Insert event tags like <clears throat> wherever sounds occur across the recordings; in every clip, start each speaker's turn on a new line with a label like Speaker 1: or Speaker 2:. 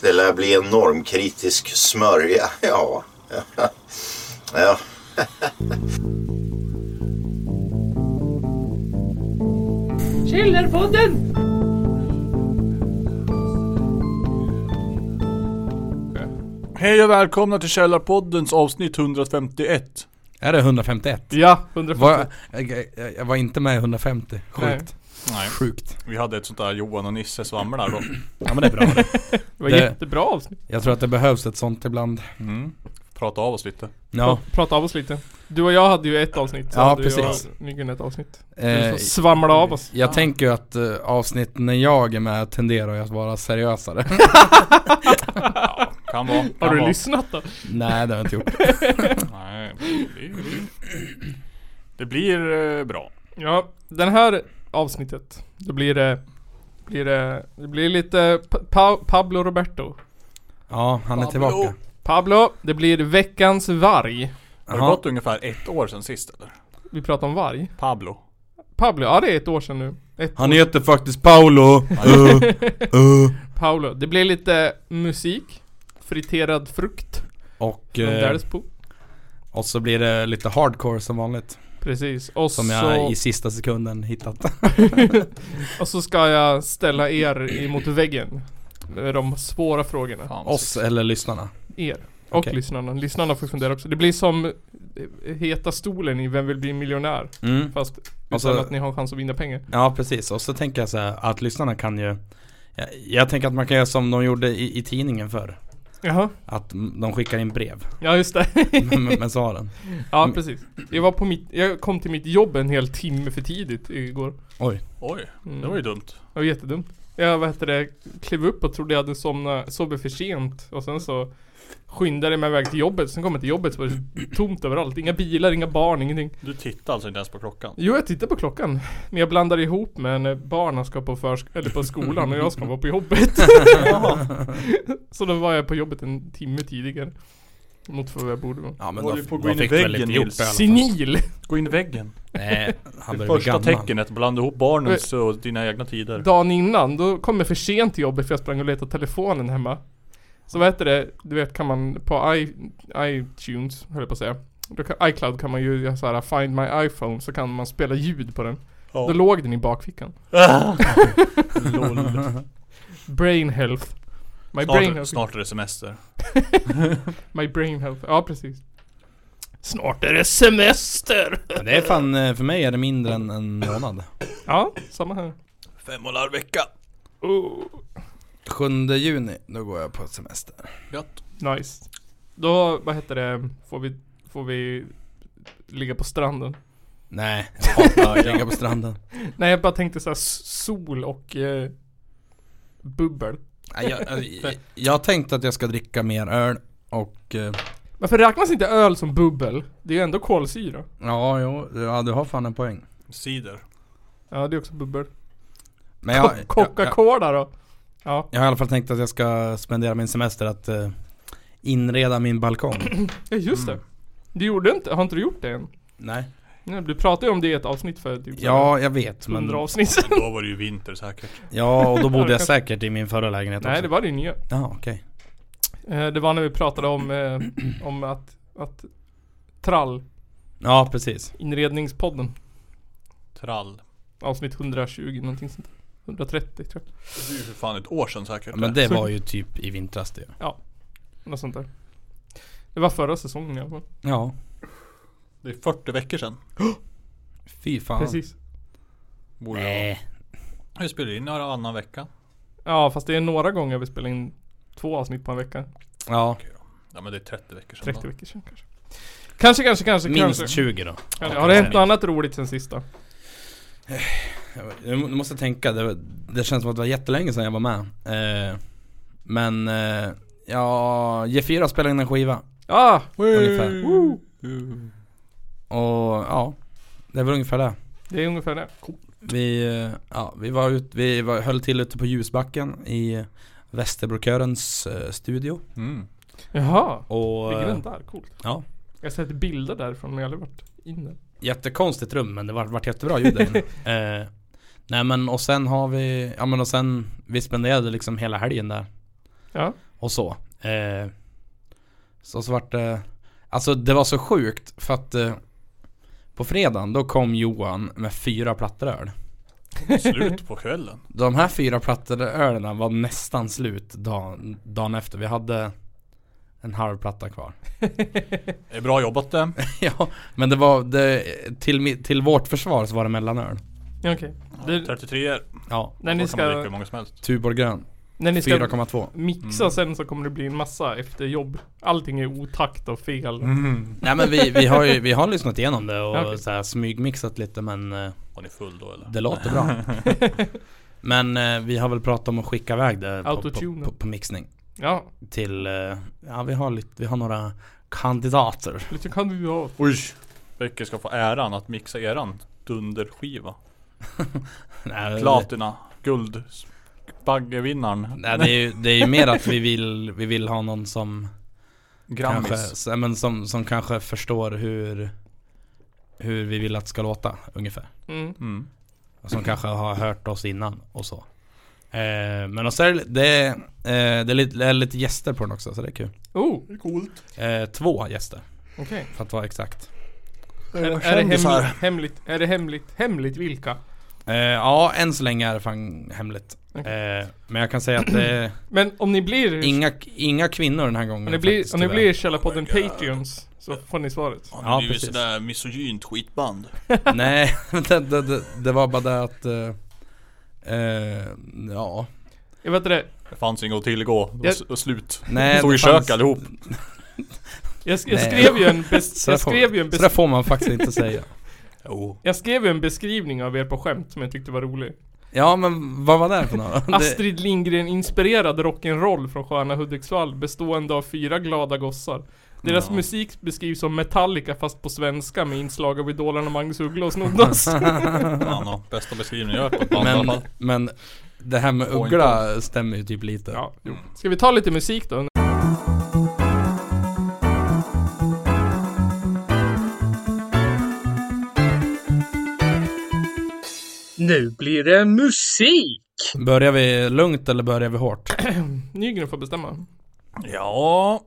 Speaker 1: Det lär bli en normkritisk smörja. <laughs> Ja. ja.
Speaker 2: Källarpodden!
Speaker 3: Hej och välkomna till Källarpoddens avsnitt 151
Speaker 4: Är det 151?
Speaker 2: Ja, 150.
Speaker 4: Var, jag, jag, jag var inte med i 150. Sjukt.
Speaker 3: Nej,
Speaker 4: Sjukt.
Speaker 3: vi hade ett sånt där Johan och Nisse svamlar då
Speaker 4: Ja men det är bra det.
Speaker 2: Det var
Speaker 4: Det-
Speaker 2: jättebra avsnitt.
Speaker 4: Jag tror att det behövs ett sånt ibland.
Speaker 3: mm. Prata av oss lite
Speaker 4: Ja.
Speaker 2: Pra- Prata av oss lite. Du och jag hade ju ett avsnitt. så
Speaker 4: Ja,
Speaker 2: hade
Speaker 4: precis.
Speaker 2: Jag och Myggen ett avsnitt.
Speaker 4: Eh,
Speaker 2: Du svamlade av oss.
Speaker 4: jag tänker ju att eh, avsnitten när jag är med tenderar ju att vara <laughs> seriösare.
Speaker 3: Kan vara, kan
Speaker 2: Har du
Speaker 3: vara.
Speaker 2: lyssnat då?
Speaker 4: Nej det har jag inte gjort.
Speaker 3: Nej, det, blir- det blir eh, bra
Speaker 2: Ja, den här avsnittet. Då blir det... Blir det, det blir lite Pa- pa Pablo Roberto.
Speaker 4: Ja, han är tillbaka.
Speaker 2: Pablo, det blir veckans varg.
Speaker 3: Har det
Speaker 4: Jaha.
Speaker 3: gått ungefär ett år sedan sist eller?
Speaker 2: Vi pratar om varg.
Speaker 3: Pablo
Speaker 2: Pablo, ja det är ett år sedan nu. Ett
Speaker 4: Han heter faktiskt Paolo. <laughs> Uh, uh.
Speaker 2: Paolo. Det blir lite musik. Friterad frukt.
Speaker 4: Och,
Speaker 2: Från
Speaker 4: eh,
Speaker 2: Delsbo.
Speaker 4: och så blir det lite hardcore som vanligt.
Speaker 2: Precis. Och
Speaker 4: Som
Speaker 2: så...
Speaker 4: jag i sista sekunden hittat. <laughs>
Speaker 2: Och så ska jag ställa er emot väggen. Med de svåra frågorna.
Speaker 3: Fan, vad
Speaker 4: Oss
Speaker 3: sexigt.
Speaker 4: eller lyssnarna.
Speaker 2: Er. Och
Speaker 4: Okej.
Speaker 2: lyssnarna. Lyssnarna får fundera också. Det blir som eh, heta stolen i Vem vill bli miljonär?
Speaker 4: Mm.
Speaker 2: Fast
Speaker 4: Och så-
Speaker 2: utan att ni har en chans att vinna pengar.
Speaker 4: Ja precis, och så tänker jag så här att lyssnarna kan ju jag, jag tänker att man kan göra som de gjorde i, i tidningen förr
Speaker 2: Jaha.
Speaker 4: Att m- de skickar in
Speaker 2: <laughs>
Speaker 4: brev
Speaker 2: Ja just det.
Speaker 4: med, med svaren
Speaker 2: ja precis. Jag var på mitt, jag kom till mitt jobb en hel timme för tidigt igår.
Speaker 4: Oj
Speaker 3: Oj,
Speaker 2: Mm.
Speaker 3: det var ju dumt
Speaker 2: Det var jättedumt. Jag vad heter det, klev upp och trodde jag hade somnat, sovit för sent. Och sen så skyndade jag mig iväg till jobbet. Sen kom jag till jobbet så var det tomt överallt. Inga bilar, inga barn, ingenting.
Speaker 3: Du tittar alltså inte ens på klockan?
Speaker 2: Jo, jag tittar på klockan. Men jag blandar ihop med när barnen ska på, försk- eller på skolan och jag ska vara
Speaker 3: <laughs>
Speaker 2: på jobbet. så då var jag på jobbet en timme tidigare. Mot vad jag borde vara.
Speaker 4: Ja men
Speaker 3: Håller
Speaker 4: då,
Speaker 3: du på att
Speaker 4: då
Speaker 3: gå in i
Speaker 4: fick du väl
Speaker 3: väggen,
Speaker 4: lite gjort
Speaker 3: Nils?
Speaker 4: i alla fall.
Speaker 2: Senil!
Speaker 3: Gå in i väggen
Speaker 4: Nej,
Speaker 3: Det
Speaker 4: han börjar bli
Speaker 3: första
Speaker 4: gammal
Speaker 3: tecknet, blanda ihop barnens och dina egna tider
Speaker 2: Dagen innan, då kom jag för sent till jobbet för jag sprang och letade telefonen hemma. Så vad heter det, du vet kan man på I, iTunes, höll jag på att säga. Då kan, iCloud kan man ju göra så här, find my iPhone, så kan man spela ljud på den.
Speaker 3: Ja. <laughs>
Speaker 2: <laughs> Då låg den i bakfickan.
Speaker 3: Lol.
Speaker 2: Brain health. My brain
Speaker 3: Snart,
Speaker 2: health.
Speaker 3: snart är det semester
Speaker 2: My brain health, ja precis. Snart är det semester!
Speaker 4: Men Det är fan, eh, för mig är det mindre än en månad
Speaker 2: Ja, samma här.
Speaker 3: Fem och en halv vecka
Speaker 2: Oh,
Speaker 4: 7 juni, då går jag på semester
Speaker 3: Gött
Speaker 2: nice. Då, vad heter det, får vi, får vi ligga på stranden?
Speaker 4: Nej, jag hatar att ligga på stranden
Speaker 2: Nej jag bara tänkte såhär sol och eh, bubbel.
Speaker 4: Nej, jag, jag, jag tänkte att jag ska dricka mer öl och eh,
Speaker 2: Varför räknas inte öl som bubbel? Det är ju ändå kolsyra.
Speaker 4: Ja, jo, ja, du har fan en poäng
Speaker 3: Cider
Speaker 4: <laughs>
Speaker 2: Ja det är också bubbel.
Speaker 4: Men jag, jag- jag-
Speaker 2: Coca-Cola då? Ja,
Speaker 4: Jag har i alla fall tänkt att jag ska spendera min semester att eh, inreda min balkong.
Speaker 2: ja just
Speaker 4: Mm.
Speaker 2: det. Du gjorde inte, har inte du gjort det än?
Speaker 4: Nej.
Speaker 2: <clears throat> Nej, du pratade ju om det i ett avsnitt för typ så här
Speaker 4: Ja, jag vet.
Speaker 2: 100
Speaker 4: Men,
Speaker 2: avsnitt sedan.
Speaker 3: Då var det ju vinter säkert
Speaker 4: ja, och då
Speaker 2: <laughs>
Speaker 4: bodde jag
Speaker 2: kanske-
Speaker 4: säkert i min förra lägenhet
Speaker 2: Nej
Speaker 4: också.
Speaker 2: det var din nya.
Speaker 4: Ja, okej.
Speaker 2: Eh, Det var när vi pratade om, eh, om att, att Trall,
Speaker 4: Ja, precis.
Speaker 2: inredningspodden,
Speaker 3: Trall
Speaker 2: avsnitt 120 någonting sånt. 130 tror jag.
Speaker 3: Det är ju för fan ett år sedan säkert
Speaker 4: Men det var ju typ i vintras det.
Speaker 2: Något sånt där. Det var förra säsongen i alla fall.
Speaker 4: Ja.
Speaker 3: Det är 40 veckor sedan
Speaker 4: Fy fan.
Speaker 2: Precis.
Speaker 3: Borde det
Speaker 4: Nej.
Speaker 3: vara. Vi spelar in varannan vecka
Speaker 2: Ja fast det är några gånger vi spelar in två avsnitt på en vecka.
Speaker 4: Ja.
Speaker 3: Ja men det är 30 veckor sedan
Speaker 2: 30 veckor sedan kanske. Kanske, kanske, kanske,
Speaker 4: Minst
Speaker 2: kanske.
Speaker 4: 20 då.
Speaker 2: kanske. Har det hänt något annat roligt sen sista?
Speaker 4: Jag må- måste tänka, det, det känns som att det var jättelänge sedan jag var med. Eh, men, eh, ja, G4 spelade in en skiva.
Speaker 2: Ah!
Speaker 4: Ungefär.
Speaker 2: Woo!
Speaker 4: Och ja, det är väl ungefär det.
Speaker 2: Det är ungefär det.
Speaker 4: Vi, eh, ja, vi, var ut, vi var, höll till ute på Ljusbacken i Västerbrokörens eh, studio.
Speaker 3: Mm.
Speaker 2: Jaha.
Speaker 4: Och,
Speaker 2: Ligger
Speaker 4: eh,
Speaker 2: den där? Coolt.
Speaker 4: ja.
Speaker 2: Jag har sett bilder därifrån men jag har aldrig varit inne.
Speaker 4: jättekonstigt rum men det vart var jättebra ljud där inne. eh, Nej men och sen har vi, ja men och sen, vi spenderade liksom hela helgen där.
Speaker 2: Ja.
Speaker 4: Och så. Eh, så så vart det, alltså det var så sjukt för att eh, på fredagen då kom Johan med fyra plattor öl.
Speaker 3: Slut på kvällen.
Speaker 4: De här fyra plattor ölen var nästan slut dagen, dagen efter. Vi hade en halv platta kvar. <laughs>
Speaker 3: Det är bra jobbat eh. det.
Speaker 4: ja, men det var, det, till, mi- till vårt försvar så var det mellanöl.
Speaker 2: Ja, Okej. Det-
Speaker 3: 33 er.
Speaker 4: Ja,
Speaker 2: När
Speaker 3: Då
Speaker 2: ni
Speaker 3: kan man dricka hur
Speaker 2: ska,
Speaker 3: många som helst.
Speaker 4: Tuborg grön.
Speaker 2: när ni ska
Speaker 4: 4,2.
Speaker 2: mixa
Speaker 4: Mm.
Speaker 2: sen så kommer det bli en massa efter jobb. Allting är otakt och fel.
Speaker 4: Mm. Nej men vi, vi har ju, vi har lyssnat igenom det och
Speaker 2: <laughs> Okej.
Speaker 4: så här smygmixat lite men eh,
Speaker 3: Var ni full då eller?
Speaker 4: det låter
Speaker 2: <laughs>
Speaker 4: bra. men eh, vi har väl pratat om att skicka iväg det på, på,
Speaker 2: Autotune.
Speaker 4: på, på mixning.
Speaker 2: Ja,
Speaker 4: Till, eh, ja vi har, lite, vi har några kandidater.
Speaker 2: lite kandidat.
Speaker 3: Oj! Becker ska få äran att mixa eran dunderskiva.
Speaker 4: Nej, det-
Speaker 3: Platina, guld, baggevinnaren,
Speaker 4: Nej det är ju, det är ju mer att vi vill, vi vill ha någon som kanske,
Speaker 3: Grammis.
Speaker 4: s- men som, som kanske förstår hur, hur vi vill att det ska låta ungefär.
Speaker 2: Mm.
Speaker 3: Mm.
Speaker 4: Som kanske har hört oss innan och så. Eh, men också är det, det, eh, det, är lite, det är lite gäster på den också så det är kul.
Speaker 2: Oh,
Speaker 3: Det är coolt.
Speaker 4: Eh, två gäster
Speaker 2: okej.
Speaker 4: för att vara exakt.
Speaker 2: Är, är, det hemligt, hemligt, är det hemligt, hemligt vilka?
Speaker 4: Eh, ja, än så länge är det fan hemligt. Eh, men jag kan säga att det är
Speaker 2: Men om ni blir...
Speaker 4: inga, inga kvinnor den här gången
Speaker 2: om ni blir,
Speaker 4: faktiskt,
Speaker 2: om ni
Speaker 4: tyvärr.
Speaker 2: blir Källarpodden
Speaker 3: Oh my God.
Speaker 2: Patreons så får ni svaret.
Speaker 4: Ja, det är ju precis.
Speaker 3: sådär misogynt skitband.
Speaker 2: <laughs>
Speaker 4: Nej, det, det, det, det var bara det att... Eh, eh, ja.
Speaker 2: Jag vet inte det.
Speaker 3: Det fanns inget att tillgå. Det var
Speaker 2: Jag-
Speaker 3: s- och slut.
Speaker 4: Nej,
Speaker 3: Stod
Speaker 4: det
Speaker 3: i kök
Speaker 4: fanns-
Speaker 3: allihop.
Speaker 2: Jag, sk- jag
Speaker 4: Nej.
Speaker 2: skrev ju en, bes,
Speaker 4: <laughs> Så där
Speaker 2: jag
Speaker 4: får-
Speaker 2: skrev ju en
Speaker 4: Så det
Speaker 2: bes,
Speaker 4: får man faktiskt inte
Speaker 2: <laughs>
Speaker 4: säga. <laughs>
Speaker 3: Jo.
Speaker 2: jag skrev ju en beskrivning av er på skämt som jag tyckte var rolig.
Speaker 4: Ja men vad var det för
Speaker 2: <laughs>
Speaker 4: något? Det,
Speaker 2: Astrid Lindgren inspirerad rock'n'roll från sköna Hudiksvall bestående av fyra glada gossar. Deras
Speaker 3: Ja.
Speaker 2: musik beskrivs som Metallica fast på svenska med inslag av idolerna Magnus Uggla och Snoddas.
Speaker 3: Fan och bästa beskrivningen jag har hört på ett band i
Speaker 4: men,
Speaker 3: alla fall.
Speaker 4: men det här med
Speaker 3: Point
Speaker 4: Uggla stämmer ju typ lite.
Speaker 2: ja, jo. Ska vi ta lite musik då?
Speaker 5: Nu blir det musik!
Speaker 4: Börjar vi lugnt eller börjar
Speaker 3: <clears throat>
Speaker 4: vi hårt?
Speaker 2: Nygren får bestämma.
Speaker 3: Ja.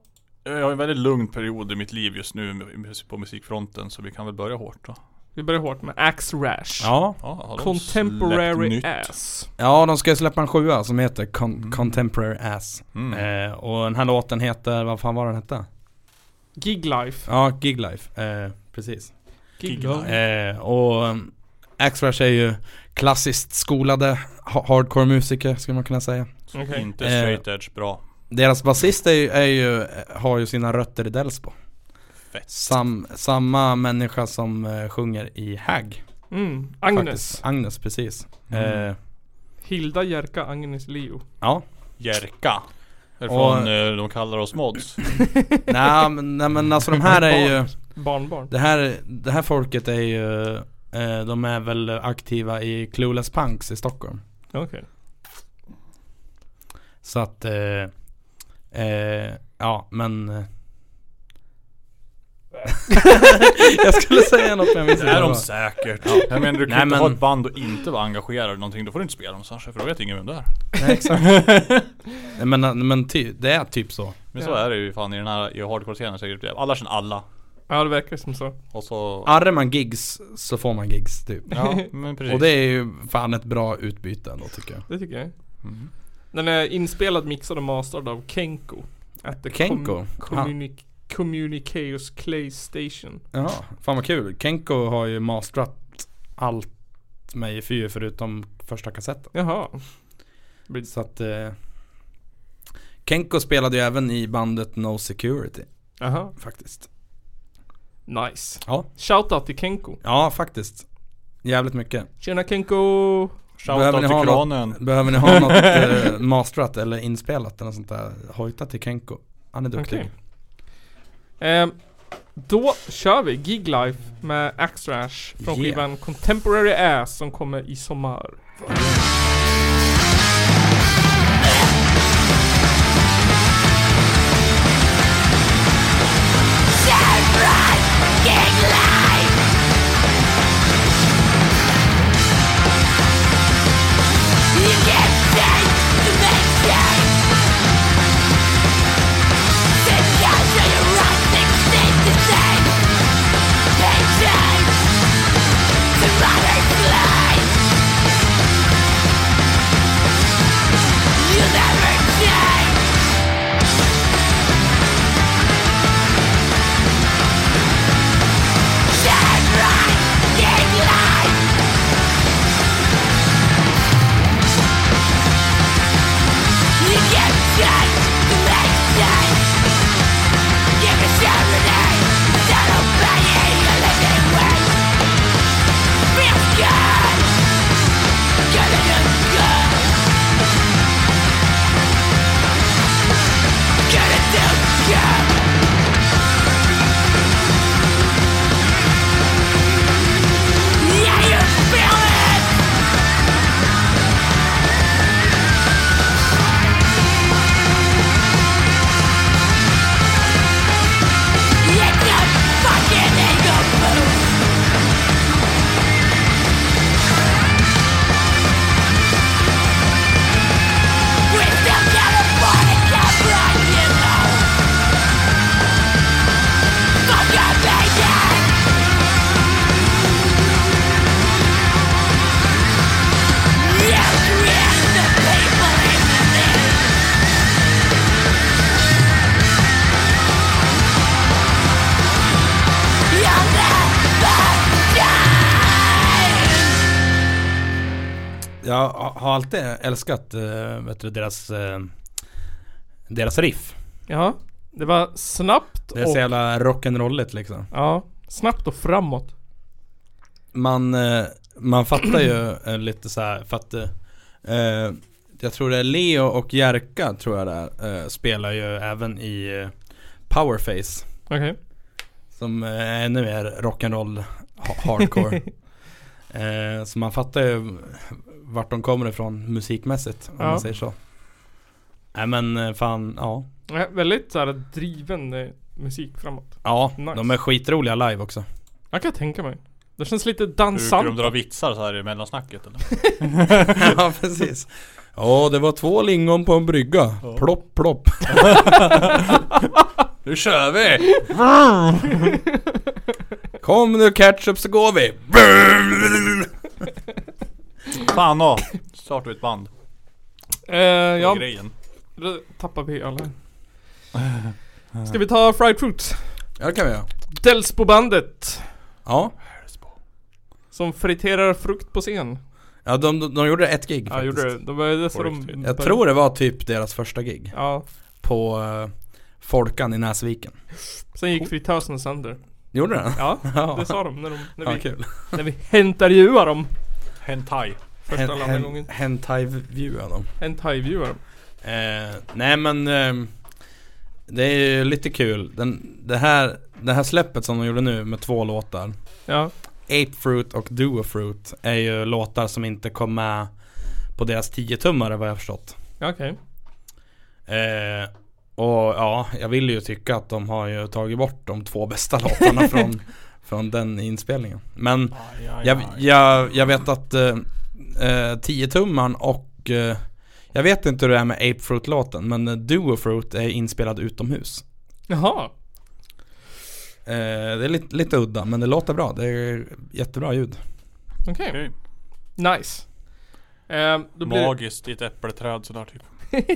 Speaker 3: Jag har en väldigt lugn period i mitt liv just nu med- på musikfronten så vi kan väl börja hårt då.
Speaker 2: Vi börjar hårt med Axe Rash.
Speaker 4: Ja.
Speaker 3: Ja, har de släppt
Speaker 2: Contemporary
Speaker 3: nytt?
Speaker 2: Ass.
Speaker 4: Ja, de ska ju släppa en sjua som heter Con- Contemporary Ass.
Speaker 3: Mm.
Speaker 4: Eh, och den här låten heter, vad fan var den hette?
Speaker 2: Gig Life.
Speaker 4: Ja, Gig Life. Eh, precis.
Speaker 3: Gig Life.
Speaker 4: Eh, och um, Axrash är ju klassiskt skolade ha- hardcore-musiker skulle man kunna säga.
Speaker 2: Okej.
Speaker 3: Inte
Speaker 4: Eh.
Speaker 3: straight edge bra.
Speaker 4: Deras basist är ju, är ju, har ju sina rötter i Delsbo.
Speaker 3: Fett.
Speaker 4: Sam, samma människa som eh, sjunger i Hag.
Speaker 2: Mm. Agnes.
Speaker 4: Faktiskt. Agnes, precis.
Speaker 3: Mm.
Speaker 4: Eh,
Speaker 2: Hilda Jerka Agnes Leo.
Speaker 4: ja.
Speaker 3: Jerka. Är
Speaker 4: Och-
Speaker 3: Från, eh, de kallar oss mods.
Speaker 4: nej, men, nej men alltså de här är ju
Speaker 2: Barnbarn.
Speaker 4: Det här, det här folket är ju eh, De är väl aktiva i Clueless Punks i Stockholm
Speaker 2: Okej.
Speaker 4: Så att eh, eh, Ja men eh. <laughs> Jag skulle säga något men jag
Speaker 3: Det
Speaker 4: missade
Speaker 3: är
Speaker 4: vad
Speaker 3: de
Speaker 4: det var.
Speaker 3: säkert. Jag menar du kan
Speaker 4: Nej,
Speaker 3: inte
Speaker 4: men-
Speaker 3: ha ett band och inte vara engagerad i någonting. Då får du inte spela någonstans. För då vet ingen vem det är.
Speaker 4: Nej, exakt. <laughs> Nej, men, men ty, det är typ så
Speaker 3: Men
Speaker 2: Ja.
Speaker 3: så är det ju fan i den här i hardcore-scenen säkert. Alla känner alla.
Speaker 2: Ja, det verkar som så.
Speaker 3: Och så...
Speaker 4: Arrar man gigs så får man gigs typ
Speaker 3: Ja, <laughs> men precis.
Speaker 4: Och det är ju fan ett bra utbyte ändå tycker jag
Speaker 2: Det tycker jag.
Speaker 3: Mm.
Speaker 2: Den är inspelad, mixad och masterad av Kenko. At the Com-
Speaker 4: Kenko? Ja,
Speaker 2: communi- Communicaeus Clay Station.
Speaker 4: Jaha, fan vad kul Kenko har ju mastrat allt med EFY förutom första kassetten
Speaker 2: Jaha.
Speaker 4: Så att eh, Kenko spelade ju även i bandet No Security
Speaker 2: Jaha.
Speaker 4: faktiskt.
Speaker 2: Nice.
Speaker 4: Ja.
Speaker 2: Shoutout till Kenko.
Speaker 4: Ja, faktiskt. Jävligt mycket.
Speaker 2: Tjena Kenko!
Speaker 4: Behöver
Speaker 3: Shoutout till
Speaker 4: ni ha något?
Speaker 3: kranen.
Speaker 4: Behöver ni
Speaker 3: <laughs>
Speaker 4: ha något eh, mastrat eller inspelat eller något sånt där, hojta till Kenko. Han är duktig.
Speaker 2: Okej. Ehm, då kör vi Gig Life med Axe Rash från
Speaker 4: Yeah.
Speaker 2: skivan Contemporary Ass som kommer i sommar.
Speaker 6: You can't change to make change.
Speaker 4: Jag ha- har alltid älskat eh, vet du, deras, eh, deras riff.
Speaker 2: Jaha. Det var snabbt
Speaker 4: Det är så
Speaker 2: och...
Speaker 4: jävla rock'n'rolligt liksom.
Speaker 2: Ja. Snabbt och framåt.
Speaker 4: Man, eh, man fattar
Speaker 2: <clears throat>
Speaker 4: ju eh, lite så här för att eh, jag tror det är Leo och Jerka tror jag det är, eh, spelar ju även i eh, Powerface.
Speaker 2: Okej.
Speaker 4: Som eh, är ännu mer rock'n'roll ha- hardcore.
Speaker 2: <laughs>
Speaker 4: eh, så man fattar ju vart de kommer ifrån musikmässigt om
Speaker 2: Ja.
Speaker 4: man säger så. Nej men eh, fan, ja.
Speaker 2: Ja, väldigt så här driven eh, musik framåt.
Speaker 4: Ja,
Speaker 2: Nice.
Speaker 4: de är skitroliga live
Speaker 2: <laughs>
Speaker 4: också.
Speaker 2: Jag kan tänka mig. Det känns lite
Speaker 3: Brukar de
Speaker 2: dansant.
Speaker 3: dra vitsar så här i mellansnacket eller?
Speaker 4: ja, precis. Ja, det var två lingon på en brygga. Plopp, plopp.
Speaker 3: Nu kör vi!
Speaker 4: Kom nu ketchup så går vi.
Speaker 3: Fan ja. Startar vi ett band.
Speaker 2: Eh, ja,
Speaker 3: Ja. Grejen.
Speaker 2: då tappar
Speaker 4: <laughs>
Speaker 2: vi alla. Ska vi ta Fried Fruits?
Speaker 4: Ja, det kan vi göra.
Speaker 2: Delsbo-bandet.
Speaker 4: Ja.
Speaker 2: Som friterar frukt på scen.
Speaker 4: Ja, de, de, de gjorde ett gig
Speaker 2: Ja,
Speaker 4: faktiskt.
Speaker 2: gjorde det. De var det som
Speaker 3: Korrekt.
Speaker 2: de...
Speaker 4: Jag tror det var typ deras första gig.
Speaker 2: Ja.
Speaker 4: På eh, Folkan i Näsviken.
Speaker 2: Sen gick fritösen sönder.
Speaker 4: Gjorde det?
Speaker 2: Ja,
Speaker 4: <laughs> Ja.
Speaker 2: det sa de när, de, när,
Speaker 4: Ja,
Speaker 2: vi,
Speaker 4: kul.
Speaker 2: när vi intervjuade dem.
Speaker 3: Hentai.
Speaker 2: Första eller andra gången.
Speaker 4: Hentai-viewa dem.
Speaker 2: Hentai-viewer dem.
Speaker 4: Eh, nej men ehm, Det är ju lite kul. Den, det, här, det här släppet som de gjorde nu med två låtar.
Speaker 2: Ja.
Speaker 4: Apefruit och Duofruit är ju låtar som inte kom med på deras 10-tummare vad jag har förstått.
Speaker 2: Ja, okej.
Speaker 4: Eh, och ja, jag vill ju tycka att de har ju tagit bort de två bästa <laughs> låtarna från, från den inspelningen. Men
Speaker 3: Aj, aj,
Speaker 4: jag,
Speaker 3: aj.
Speaker 4: jag, jag vet att eh, eh, 10-tummaren och eh, jag vet inte hur det är med Apefruit-låten men eh, Duofruit är inspelad utomhus.
Speaker 2: Jaha.
Speaker 4: Eh, det är lite, lite udda men det låter bra. Det är jättebra <laughs> ljud.
Speaker 2: Okej.
Speaker 3: Okej.
Speaker 2: Nice. Ehm, då blir det...
Speaker 3: Magiskt i ett äppelträd sådär typ.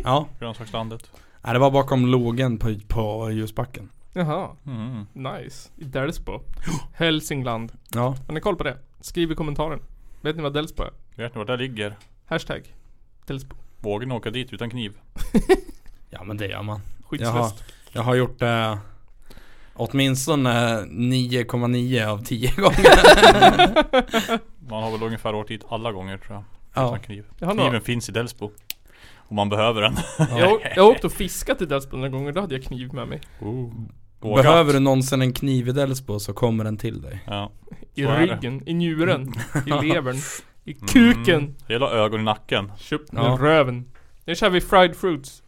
Speaker 4: Ja,
Speaker 3: Grönsakslandet.
Speaker 4: Nej, det var bakom logen på, på ljusbacken.
Speaker 2: Jaha.
Speaker 3: Mm.
Speaker 2: Nice. I Delsbo. <gasps> Hälsingland.
Speaker 4: Ja,
Speaker 2: Har ni koll på det? Skriv i kommentaren. Vet ni vad Delsbo är?
Speaker 3: Vet ni var det ligger?
Speaker 2: Hashtag. Delsbo.
Speaker 3: Vågar ni åka dit utan kniv?
Speaker 4: ja men det gör man. Jaha.
Speaker 2: Skyddslöst.
Speaker 4: Jag har gjort det åtminstone 9,9 av 10 gånger.
Speaker 3: Man har väl ungefär åkt dit alla gånger tror jag.
Speaker 4: ja.
Speaker 3: Utan kniv.
Speaker 2: Jag, har några-
Speaker 3: Kniven finns i Delsbo. Om man behöver den.
Speaker 2: jag, jag har åkt och fiskat i Delsbo några gånger, då hade jag kniv med mig.
Speaker 3: Vågat.
Speaker 4: Behöver du någonsin en kniv i Delsbo så kommer den till dig.
Speaker 3: Ja.
Speaker 2: I
Speaker 3: Så är det. Mm.
Speaker 2: ryggen, i njuren, i
Speaker 3: <laughs>
Speaker 2: levern, i kuken.
Speaker 3: Hela ögon i nacken.
Speaker 2: Köpt
Speaker 4: Ja.
Speaker 2: med röven. Nu kör vi Fried Fruits.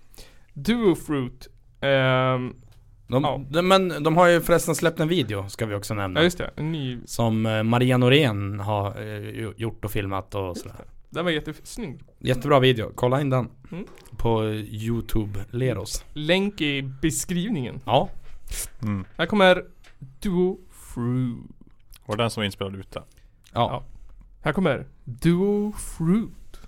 Speaker 2: Duo Fruit. Ehm,
Speaker 4: De,
Speaker 2: Ja.
Speaker 4: de, men de har ju förresten släppt en video, ska vi också nämna.
Speaker 2: ja just det, en ny.
Speaker 4: Som eh, Maria Norén har eh, ju- gjort och filmat och sådär.
Speaker 2: Den var jättesnygg.
Speaker 4: Jättebra video, kolla in den.
Speaker 2: Mm.
Speaker 4: På eh, Youtube, Leros.
Speaker 2: Länk i beskrivningen.
Speaker 4: Ja,
Speaker 3: Mm.
Speaker 2: Här kommer Duo Fruit.
Speaker 3: Var det den som var inspelad ute?
Speaker 4: ja.
Speaker 2: Här kommer Duo Fruit.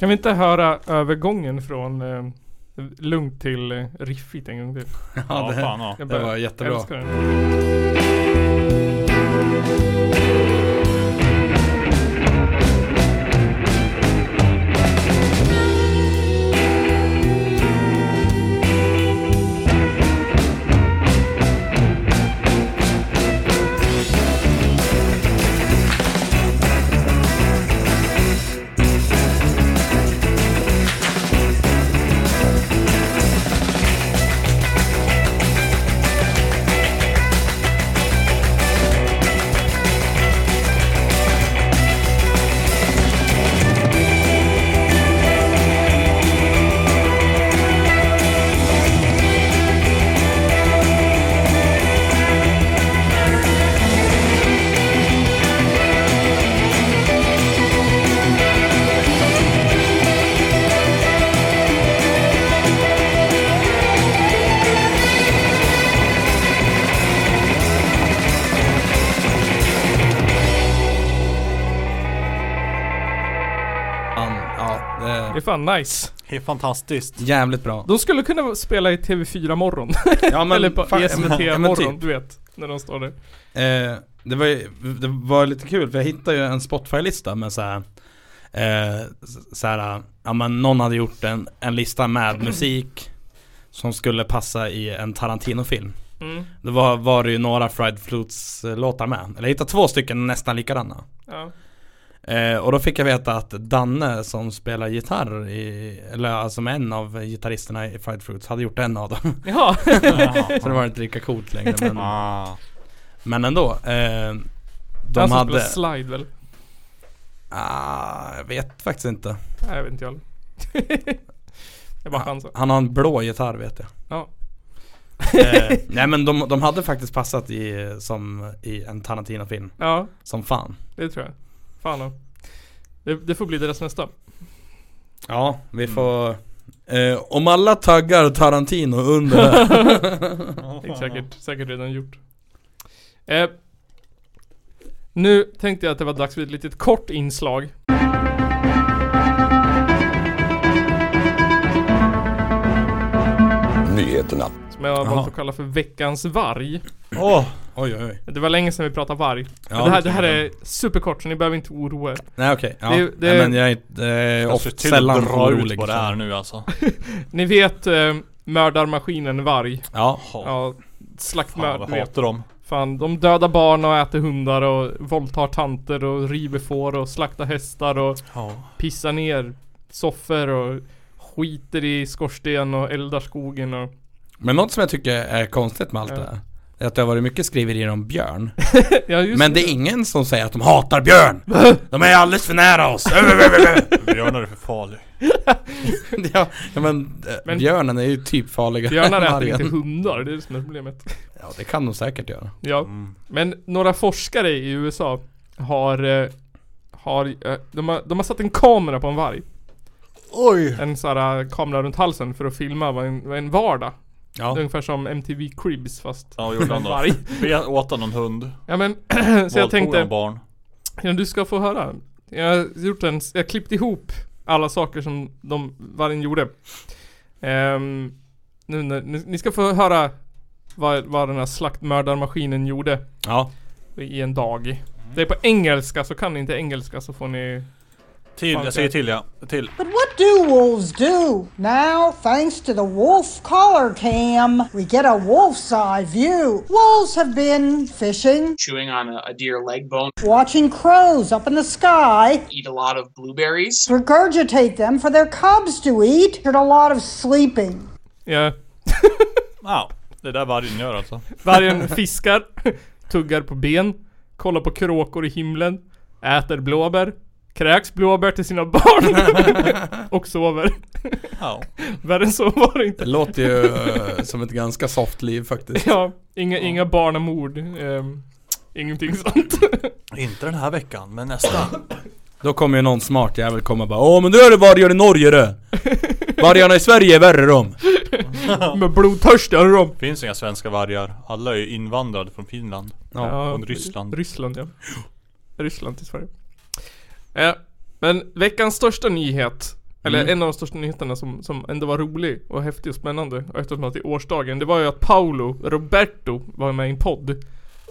Speaker 2: Kan vi inte höra övergången från eh, lugnt till eh, riffigt en gång till?
Speaker 3: Ja,
Speaker 4: det,
Speaker 3: fan ja.
Speaker 2: Jag
Speaker 4: det
Speaker 2: bara
Speaker 4: var jättebra.
Speaker 2: älskar den.
Speaker 4: Fan, ja,
Speaker 2: Det är
Speaker 4: det,
Speaker 2: fan nice.
Speaker 3: Det är fantastiskt.
Speaker 4: <laughs> jävligt bra.
Speaker 2: De skulle kunna spela i
Speaker 4: <laughs>
Speaker 2: TV4 morgon.
Speaker 4: Ja,
Speaker 2: <laughs> Eller på E
Speaker 4: fan,
Speaker 2: SVT
Speaker 4: ja, men
Speaker 2: morgon,
Speaker 4: typ.
Speaker 2: du vet. När de står där.
Speaker 4: Eh, det, var ju, det var lite kul för jag hittade ju en Spotify-lista med såhär eh, s- såhär, ja men någon hade gjort en, en lista med musik som skulle passa i en Tarantino-film.
Speaker 2: Mm.
Speaker 4: Då var, var det ju några Fried Flutes eh, låtar med. Eller jag hittade två stycken nästan likadana.
Speaker 2: Ja.
Speaker 4: Eh, och då fick jag veta att Danne som spelar gitarr i, eller alltså som en av gitarristerna i Fried Fruits hade gjort en av dem. <laughs>
Speaker 2: Jaha.
Speaker 4: Så det var inte lika coolt längre men,
Speaker 3: Ah.
Speaker 4: men ändå. Eh, de
Speaker 2: <laughs> Han som spelar
Speaker 4: hade...
Speaker 2: slide väl?
Speaker 4: Ah, jag vet faktiskt inte.
Speaker 2: Nej, jag vet inte jag. <laughs> jag bara chansar.
Speaker 4: Han har en blå gitarr vet jag.
Speaker 2: Ja.
Speaker 4: Eh, nej men de, de hade faktiskt passat i, som, i en Tarantino-film.
Speaker 2: Ja,
Speaker 4: Som fan.
Speaker 2: det tror jag. Fan då. det, det får bli deras nästa.
Speaker 4: Ja, vi får... Mm. Eh, om alla taggar Tarantino under det här.
Speaker 2: Det är säkert, säkert redan gjort. Eh, nu tänkte jag att det var dags för ett litet kort inslag.
Speaker 6: Nyheterna.
Speaker 2: Som jag har valt
Speaker 4: Jaha.
Speaker 2: att kalla för veckans varg.
Speaker 4: Åh, oj oj oj.
Speaker 2: Det var länge sedan vi pratade varg.
Speaker 4: Ja,
Speaker 2: Men det, här, det här är superkort så ni behöver inte oroa er.
Speaker 4: Nej okej, ja.
Speaker 2: Det- det-
Speaker 4: Nej, men jag är inte,
Speaker 3: Ofta
Speaker 4: eh, ofta
Speaker 3: till sällan
Speaker 4: sällan liksom.
Speaker 3: dra
Speaker 4: orolig
Speaker 3: ut vad det
Speaker 4: så.
Speaker 3: är nu alltså.
Speaker 2: Ni vet eh, mördarmaskinen varg.
Speaker 4: Ja,
Speaker 2: Ja,
Speaker 3: Fan,
Speaker 2: slaktmörd
Speaker 3: vad
Speaker 2: du vet.
Speaker 3: hatar de.
Speaker 2: Fan, de dödar barn och äter hundar och våldtar tanter och river får och slaktar hästar och pissar ner soffor och skiter i skorsten och eldar skogen och...
Speaker 4: men något som jag tycker är konstigt med allt
Speaker 2: Ja.
Speaker 4: det här är att det har varit mycket skriverier om björn
Speaker 2: Ja, just
Speaker 4: Men det är ingen som säger att de hatar björn! De är alldeles för nära oss!
Speaker 3: Björnar är för farlig.
Speaker 4: <laughs> ja, ja, men, eh,
Speaker 2: Men-
Speaker 4: björnen är ju typ farligare
Speaker 2: Björnar
Speaker 4: än <laughs>
Speaker 2: äter
Speaker 4: vargen.
Speaker 2: inte hundar, det är det som är problemet.
Speaker 4: Ja det kan de säkert göra
Speaker 2: Ja,
Speaker 3: Mm.
Speaker 2: men några forskare i USA har... eh, har eh, de, har de har satt en kamera på en varg.
Speaker 4: Oj!
Speaker 2: En sån här eh, kamera runt halsen för att filma vad en, vad en vardag.
Speaker 4: Ja,
Speaker 2: Det är ungefär som MTV Cribs fast
Speaker 3: Ja, vad gjorde
Speaker 2: en
Speaker 3: han då?
Speaker 2: varg.
Speaker 3: Be- Åt han någon hund?
Speaker 2: Ja men, <clears throat> så jag
Speaker 3: Våldtog han
Speaker 2: tänkte,
Speaker 3: barn?
Speaker 2: ja, du ska få höra. Jag har gjort en, jag har klippt ihop alla saker som de, vargen gjorde. Ehm, nu, när- ni, ni ska få höra vad, vad den här slaktmördarmaskinen gjorde
Speaker 4: ja.
Speaker 2: i en dag. Det är på engelska, så kan ni inte engelska så får ni...
Speaker 3: Till,
Speaker 2: Fan,
Speaker 3: jag säger till ja. Till.
Speaker 7: But what do wolves do? Now, thanks to the wolf collar cam, we get a wolf's eye view. Wolves have been fishing,
Speaker 8: chewing on a, a deer leg bone,
Speaker 7: watching crows up in the sky,
Speaker 8: eat a lot of blueberries.
Speaker 7: regurgitate them for their cubs to eat, and a lot of sleeping.
Speaker 2: Ja, <laughs>
Speaker 3: Ja, det där vargen gör alltså.
Speaker 2: vargen fiskar, tuggar på ben, kollar på kråkor i himlen, äter blåbär, kräks blåbär till sina barn och sover.
Speaker 3: Ja.
Speaker 2: Värre än så var det inte.
Speaker 4: Det låter ju eh, som ett ganska soft liv faktiskt
Speaker 2: Ja, inga, inga barnamord. ehm, ingenting sånt.
Speaker 3: Inte den här veckan, men nästa.
Speaker 4: Då kommer ju någon smart jävel komma och bara Åh men nu är det vargar i Norge
Speaker 2: <laughs>
Speaker 4: det! Vargarna i Sverige är värre de!
Speaker 2: Med blodtörstiga är de.
Speaker 3: Finns inga svenska vargar. Alla är ju invandrade från Finland. från Ryssland.
Speaker 2: Ryssland ja. Ryssland till Sverige. Eh, men veckans största nyhet Eller
Speaker 3: Mm.
Speaker 2: en av de största nyheterna som, som ändå var rolig och häftig och spännande och eftersom att det är årsdagen, det var ju att Paolo Roberto var med i en podd.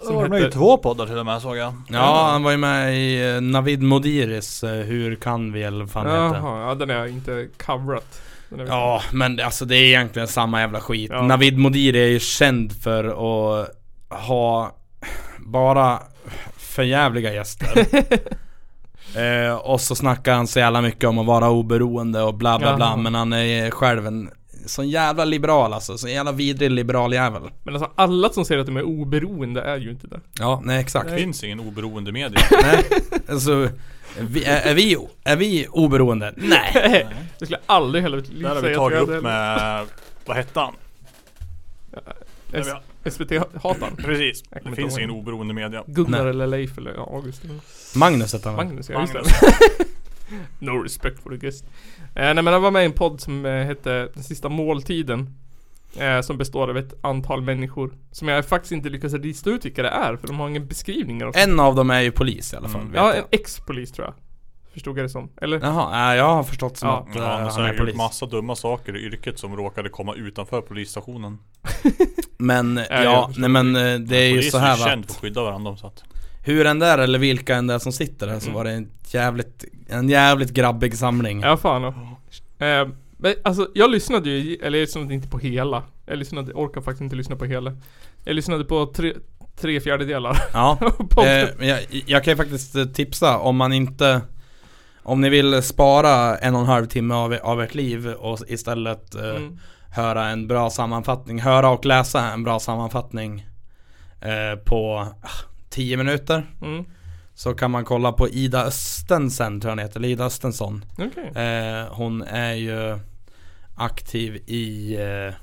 Speaker 3: Som var med i två poddar till och med såg jag.
Speaker 4: Ja, han var ju med i eh, Navid Modiris eh, Hur kan vi eller vad fan hette.
Speaker 2: Jaha, ja den är jag inte coverat. Den är-
Speaker 4: Ja, men det- alltså det är egentligen samma jävla skit.
Speaker 2: Ja.
Speaker 4: Navid Modiri är ju känd för att ha bara förjävliga gäster.
Speaker 2: <laughs>
Speaker 4: eh, och så snackar han så jävla mycket om att vara oberoende och bla bla bla.
Speaker 2: Jaha.
Speaker 4: Men han är själv en sån jävla liberal alltså. Så jävla vidrig liberal jävel.
Speaker 2: Men alltså alla som säger att de är oberoende är ju inte det.
Speaker 4: Ja, nej exakt.
Speaker 3: Det finns ingen oberoende
Speaker 2: <laughs>
Speaker 3: media.
Speaker 4: Nej. Alltså, vi, är, är, vi, är vi oberoende?
Speaker 2: <laughs>
Speaker 4: Nej.
Speaker 2: Jag skulle aldrig i hela mitt liv
Speaker 3: Där
Speaker 2: säga
Speaker 3: har
Speaker 2: att
Speaker 3: vi tagit
Speaker 2: jag hade-
Speaker 3: upp med... Vad hette han?
Speaker 2: S- SVT-hataren.
Speaker 3: Precis.
Speaker 2: Jag kommer
Speaker 3: Det
Speaker 2: inte
Speaker 3: finns
Speaker 2: ihåg.
Speaker 3: ingen oberoende media.
Speaker 2: Gunnar
Speaker 4: Nej.
Speaker 2: eller Leif eller ja, August. Eller
Speaker 4: Magnus hette han va?
Speaker 2: Magnus, ja just det.
Speaker 3: Magnus.
Speaker 2: <laughs> No respect for the guest. Eh, nej men jag var med i en podd som eh, hette Den sista måltiden. Eh, som består av ett antal människor. Som jag faktiskt inte lyckas lista ut vilka det är för de har ingen beskrivning av dem.
Speaker 4: En av dem är ju polis i alla fall.
Speaker 3: Mm.
Speaker 4: vet
Speaker 2: Ja,
Speaker 4: jag.
Speaker 2: en ex-polis tror jag. Förstod jag det som. Eller?
Speaker 4: Jaha, äh, jag har förstått som
Speaker 2: Ja.
Speaker 4: att
Speaker 3: Ja,
Speaker 4: eh,
Speaker 3: han har
Speaker 4: han är
Speaker 3: säkert
Speaker 4: polis.
Speaker 3: gjort massa dumma saker i yrket som råkade komma utanför polisstationen.
Speaker 4: Men eh,
Speaker 2: jag
Speaker 4: ja,
Speaker 2: förstår
Speaker 4: nej men eh, det är ju
Speaker 3: Polis
Speaker 4: så här va.
Speaker 3: känd för att
Speaker 4: att
Speaker 3: skydda varandra så att...
Speaker 4: Hur den där eller vilka än där som sitter där så var det en jävligt, en jävligt grabbig samling.
Speaker 2: Ja, fan. ja. Eh, men alltså, jag lyssnade ju, eller jag lyssnade inte på hela. Jag lyssnade, orkar faktiskt inte lyssna på hela. Jag lyssnade på tre, tre fjärdedelar.
Speaker 4: Ja.
Speaker 2: På-
Speaker 4: Eh, men jag, jag kan ju faktiskt eh, tipsa om man inte om ni vill spara en och en halv timme av, av ert liv och istället eh,
Speaker 2: Mm.
Speaker 4: höra en bra sammanfattning, höra och läsa en bra sammanfattning eh, på ah, 10 minuter.
Speaker 2: Mm.
Speaker 4: Så kan man kolla på Ida Östensen tror jag hon heter, eller Ida Östensson.
Speaker 2: Okej.
Speaker 4: Eh, hon är ju aktiv i eh,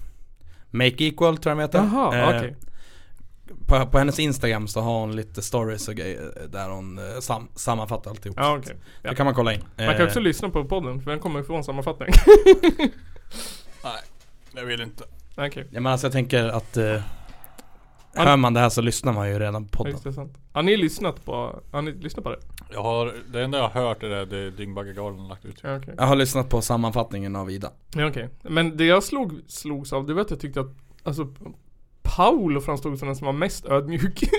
Speaker 4: Make Equal tror jag de heter.
Speaker 2: Jaha,
Speaker 4: Eh,
Speaker 2: okej.
Speaker 4: på, på hennes Instagram så har hon lite stories och grejer där hon eh, sam- sammanfattar alltihop.
Speaker 2: Ja, okej.
Speaker 4: Det kan man kolla in.
Speaker 2: Man kan
Speaker 4: Eh,
Speaker 2: också lyssna på podden, för den kommer få en sammanfattning.
Speaker 3: Nej, jag vill inte.
Speaker 2: Okej. Okay.
Speaker 4: ja, men alltså jag tänker att eh,
Speaker 2: Han-
Speaker 4: hör man det här så lyssnar man ju redan på
Speaker 2: Ja,
Speaker 4: podden.
Speaker 2: just det, sant. Har ni lyssnat på, har ni lyssnat på det?
Speaker 3: Jag har, det enda jag har hört är det, det Dyngbaggegalan har lagt ut.
Speaker 2: Ja, okej.
Speaker 4: Jag har lyssnat på sammanfattningen av Ida.
Speaker 2: Ja, okej. Men det jag slog, slogs av, det var att jag tyckte att, alltså, Paolo framstod som den som var mest ödmjuk i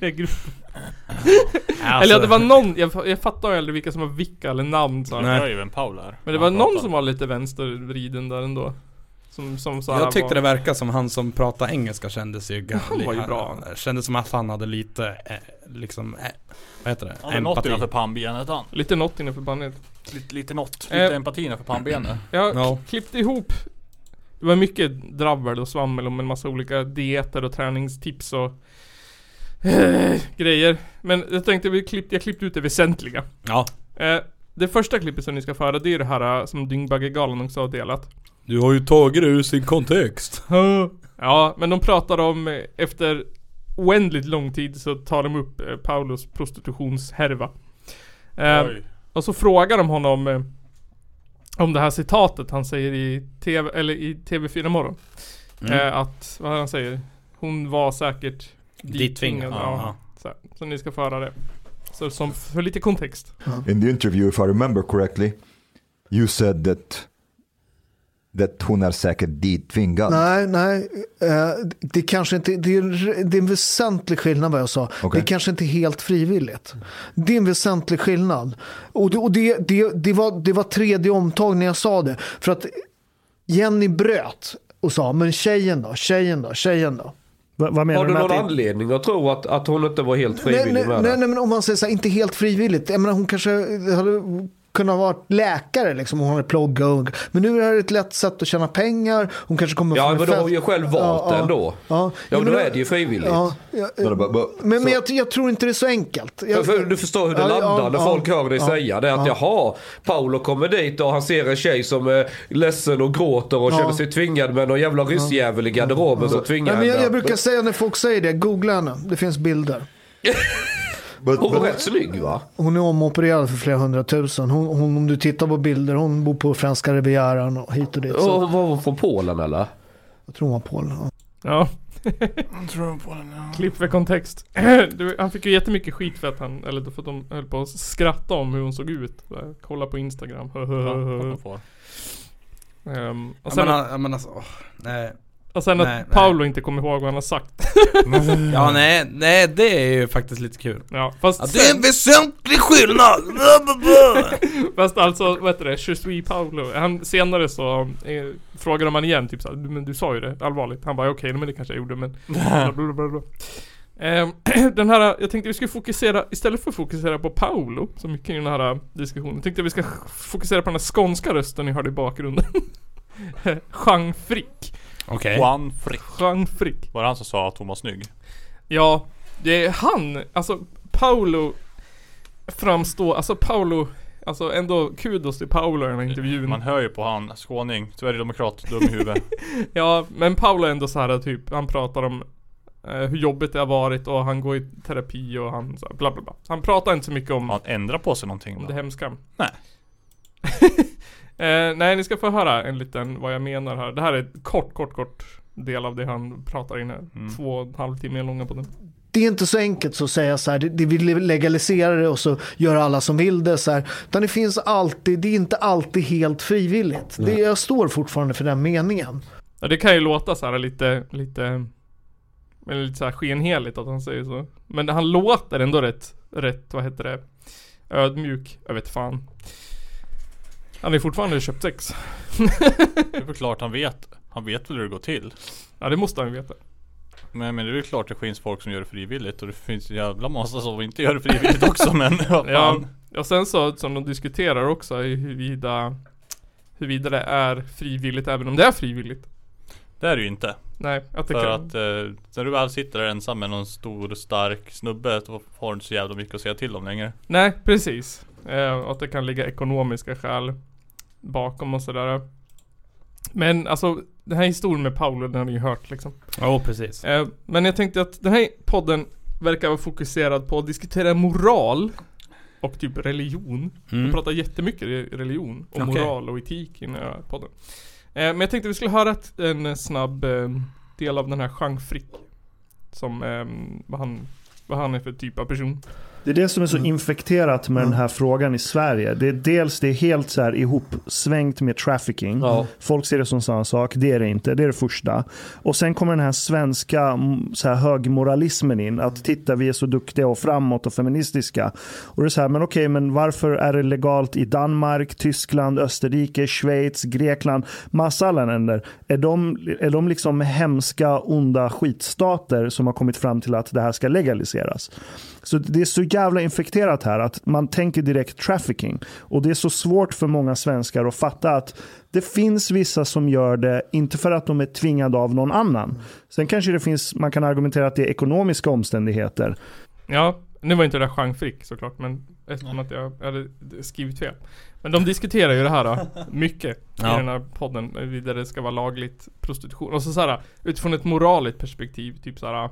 Speaker 2: den gruppen.
Speaker 4: Alltså-
Speaker 2: Eller ja, det var någon, jag, jag fattar ju aldrig vilka som var vilka eller namn så här.
Speaker 4: Nej.
Speaker 3: Jag är ju en Paul här.
Speaker 2: Men det var någon som var lite vänstervriden där ändå Som, som så här
Speaker 4: jag tyckte
Speaker 2: var,
Speaker 4: det verkade som han som pratade engelska kändes ju
Speaker 2: Han var ju bra.
Speaker 4: Kändes som att han hade lite, eh, liksom, eh, vad heter det?
Speaker 3: Han hade något innanför pannbenet han.
Speaker 2: Lite något innanför bandet
Speaker 3: Lite, lite något. Lite
Speaker 2: Eh.
Speaker 3: empati innanför pannbenet.
Speaker 2: Jag
Speaker 4: Ja.
Speaker 2: klippte ihop Det var mycket dravel och svammel om en massa olika dieter och träningstips och eh, grejer Men jag tänkte vi klippte, jag klippte ut det väsentliga
Speaker 4: Ja,
Speaker 2: eh, Det första klippet som ni ska föra det är det här eh, som Dyngbaggegalan också har delat
Speaker 4: Du har ju tagit det ur sin kontext.
Speaker 2: Ja, men de pratar om eh, efter oändligt lång tid så tar de upp eh, Paulos prostitutionshärva. Eh,
Speaker 3: Oj.
Speaker 2: och så frågar de honom eh, om det här citatet han säger i TV, eller i TV4 morgon.
Speaker 4: Mm.
Speaker 2: Eh, att, vad han säger? Hon var säkert
Speaker 4: Dittvingad.
Speaker 2: Ja. Så, här. så ni ska föra det. Så som, för lite kontext.
Speaker 6: in the interview, if I remember correctly, you said that that hon är säkert ditvingad.
Speaker 9: Nej, nej. eh, Det kanske inte, det är, en- det är en väsentlig skillnad vad jag sa.
Speaker 6: Okej.
Speaker 9: Det är kanske inte helt frivilligt. Det är en väsentlig skillnad. Och det, och det, det, det, var, det var tredje omtag när jag sa det. För att Jenny bröt och sa, men tjejen då, tjejen då, tjejen då. Va, vad menar
Speaker 10: Har du
Speaker 9: med
Speaker 10: någon
Speaker 9: att det-
Speaker 10: anledning att tro att, att hon inte var helt frivillig
Speaker 9: nej, nej,
Speaker 10: med
Speaker 9: nej,
Speaker 10: det?
Speaker 9: nej, men om man säger så här, inte helt frivilligt. Jag menar, hon kanske hade kunnat ha varit läkare liksom. Hon hade pluggat. och- Men nu är det här ett lätt sätt att tjäna pengar. Hon kanske kommer
Speaker 10: Ja,
Speaker 9: från en
Speaker 10: men då har
Speaker 9: fest-
Speaker 10: hon ju själv valt det ändå.
Speaker 9: Ja,
Speaker 10: Ja,
Speaker 9: Jo,
Speaker 10: då
Speaker 9: men-
Speaker 10: är det ju frivilligt.
Speaker 9: Ja, ja,
Speaker 6: No, no, but- but-
Speaker 9: men men
Speaker 6: so-
Speaker 9: jag, jag tror inte det är så enkelt.
Speaker 10: För,
Speaker 9: Jag,
Speaker 10: för, du förstår hur det
Speaker 9: Ja,
Speaker 10: landar
Speaker 9: ja,
Speaker 10: när
Speaker 9: ja,
Speaker 10: folk hör dig
Speaker 9: ja,
Speaker 10: säga det. Att
Speaker 9: ja.
Speaker 10: jaha, Paolo kommer dit och han ser en tjej som är ledsen och gråter och känner sig tvingad med någon jävla ryssjävel i garderoben som tvingar
Speaker 9: Nej, men jag, jag
Speaker 10: henne.
Speaker 9: brukar säga när folk säger det, googla henne. Det finns bilder.
Speaker 10: <laughs>
Speaker 6: But,
Speaker 10: Hon
Speaker 6: but-
Speaker 10: var rätt snygg va?
Speaker 9: Hon är omopererad för flera hundratusen. Hon, hon, om du tittar på bilder, hon bor på franska rivieran och hit och dit.
Speaker 10: Och
Speaker 9: Så
Speaker 10: Var hon från Polen eller?
Speaker 9: jag tror hon var Polen. Ja.
Speaker 2: Ja. Klipp för kontext. <clears throat> Du, han fick ju jättemycket skit för att han, eller för att de höll på att skratta om hur hon såg ut. Där, Kolla på Instagram. <laughs>
Speaker 3: kolla på.
Speaker 2: Ehm, och
Speaker 4: Ja,
Speaker 2: sen,
Speaker 4: men, han- ja, men alltså, åh, nej.
Speaker 2: och sen att
Speaker 4: nej, nej.
Speaker 2: Paolo inte kommer ihåg vad han har sagt.
Speaker 4: Ja nej, nej det är ju faktiskt lite kul.
Speaker 2: Ja, fast
Speaker 4: Ja, det är en väsentlig skillnad!
Speaker 2: Fast alltså, vad heter det? Je suis Paolo. Han senare så eh, frågade man igen typ såhär, "Du- men du sa ju det, allvarligt. Han bara, okej, men det kanske jag gjorde, <laughs> men... Blablabla. Ehm, <clears throat> Den här, jag tänkte vi skulle fokusera, istället för att fokusera på Paolo så mycket i den här eh, diskussionen, tänkte jag vi ska fokusera på den här skånska rösten ni hörde i bakgrunden. <laughs> Jean Frick.
Speaker 4: Okej.
Speaker 3: Juan Frick.
Speaker 2: Jean Frick.
Speaker 3: Var det han som sa att hon var snygg?
Speaker 2: Ja, det är han, alltså Paolo framstår, alltså Paolo, alltså ändå kudos till Paolo i den här intervjun.
Speaker 3: Man hör ju på han, skåning, sverigedemokrat, dum i huvudet.
Speaker 2: Ja, men Paolo är ändå så här typ, han pratar om eh, hur jobbigt det har varit och han går i terapi och han så här, bla bla bla. Han pratar inte så mycket om,
Speaker 3: Han ändrar på sig någonting
Speaker 2: om
Speaker 3: då.
Speaker 2: det hemska.
Speaker 3: Nej.
Speaker 2: eh, nej, ni ska få höra en liten vad jag menar här. Det här är ett kort, kort, kort del av det han pratar in här. Två och en halv timme långa på den.
Speaker 9: det är inte så enkelt så att säga så här, det, det vill legalisera det och så gör alla som vill det så här. Utan det finns alltid, det är inte alltid helt frivilligt. Det, jag står fortfarande för den meningen.
Speaker 2: Ja, det kan ju låta så här lite, lite, eller lite så här skenheligt att han säger så. Men han låter ändå rätt, rätt, vad heter det, ödmjuk. Jag vet fan. Han är fortfarande köpsex.
Speaker 3: Det är väl klart han vet. Han vet väl hur det går till.
Speaker 2: Ja, det måste han ju veta.
Speaker 3: Men, men det är väl klart det finns folk som gör det frivilligt och det finns en jävla massa som inte gör det frivilligt
Speaker 2: <laughs>
Speaker 3: också men vad
Speaker 2: Ja,
Speaker 3: fan.
Speaker 2: och sen så, som de diskuterar också, är huruvida, huruvida det är frivilligt, även om det är frivilligt.
Speaker 3: Det är det ju inte.
Speaker 2: Nej, att det
Speaker 3: För
Speaker 2: kan...
Speaker 3: att eh, när du väl sitter där ensam med någon stor stark snubbe då har du inte så jävla mycket att säga till om längre.
Speaker 2: Nej, precis. Eh, och att det kan ligga ekonomiska skäl bakom och sådär. Men alltså, den här historien med Paolo, den har ni ju hört liksom.
Speaker 4: Ja precis.
Speaker 2: Eh, men jag tänkte att den här podden verkar vara fokuserad på att diskutera moral och typ religion. Vi pratar jättemycket re- religion och
Speaker 4: Okej.
Speaker 2: moral och etik i den här podden. Eh, men jag tänkte vi skulle höra ett, en eh, snabb eh, del av den här Jean Frick. Som, ehm, vad, han, vad han är för typ av person.
Speaker 11: Det är det som är så infekterat med den här frågan i Sverige. Det är dels det är helt så här ihopsvängt med trafficking. Folk ser det som samma sak, det är det inte. Det är det första. Och sen kommer den här svenska mm, så här, högmoralismen in. Att titta vi är så duktiga och framåt och feministiska. Och det är så här, men okej, men varför är det legalt i Danmark, Tyskland, Österrike, Schweiz, Grekland, massa alla länder? Är de, är de liksom hemska, onda skitstater som har kommit fram till att det här ska legaliseras? Så det är så jävla infekterat här att man tänker direkt trafficking. Och det är så svårt för många svenskar att fatta att det finns vissa som gör det, inte för att de är tvingade av någon annan. Sen kanske det finns, man kan argumentera att det är ekonomiska omständigheter.
Speaker 2: Ja, nu var inte det där Jean Frick såklart men eftersom att jag hade skrivit fel. Men de diskuterar ju det här då, mycket i
Speaker 4: Ja.
Speaker 2: den här podden. Huruvida det ska vara lagligt prostitution. Och så, så här utifrån ett moraliskt perspektiv. Typ så här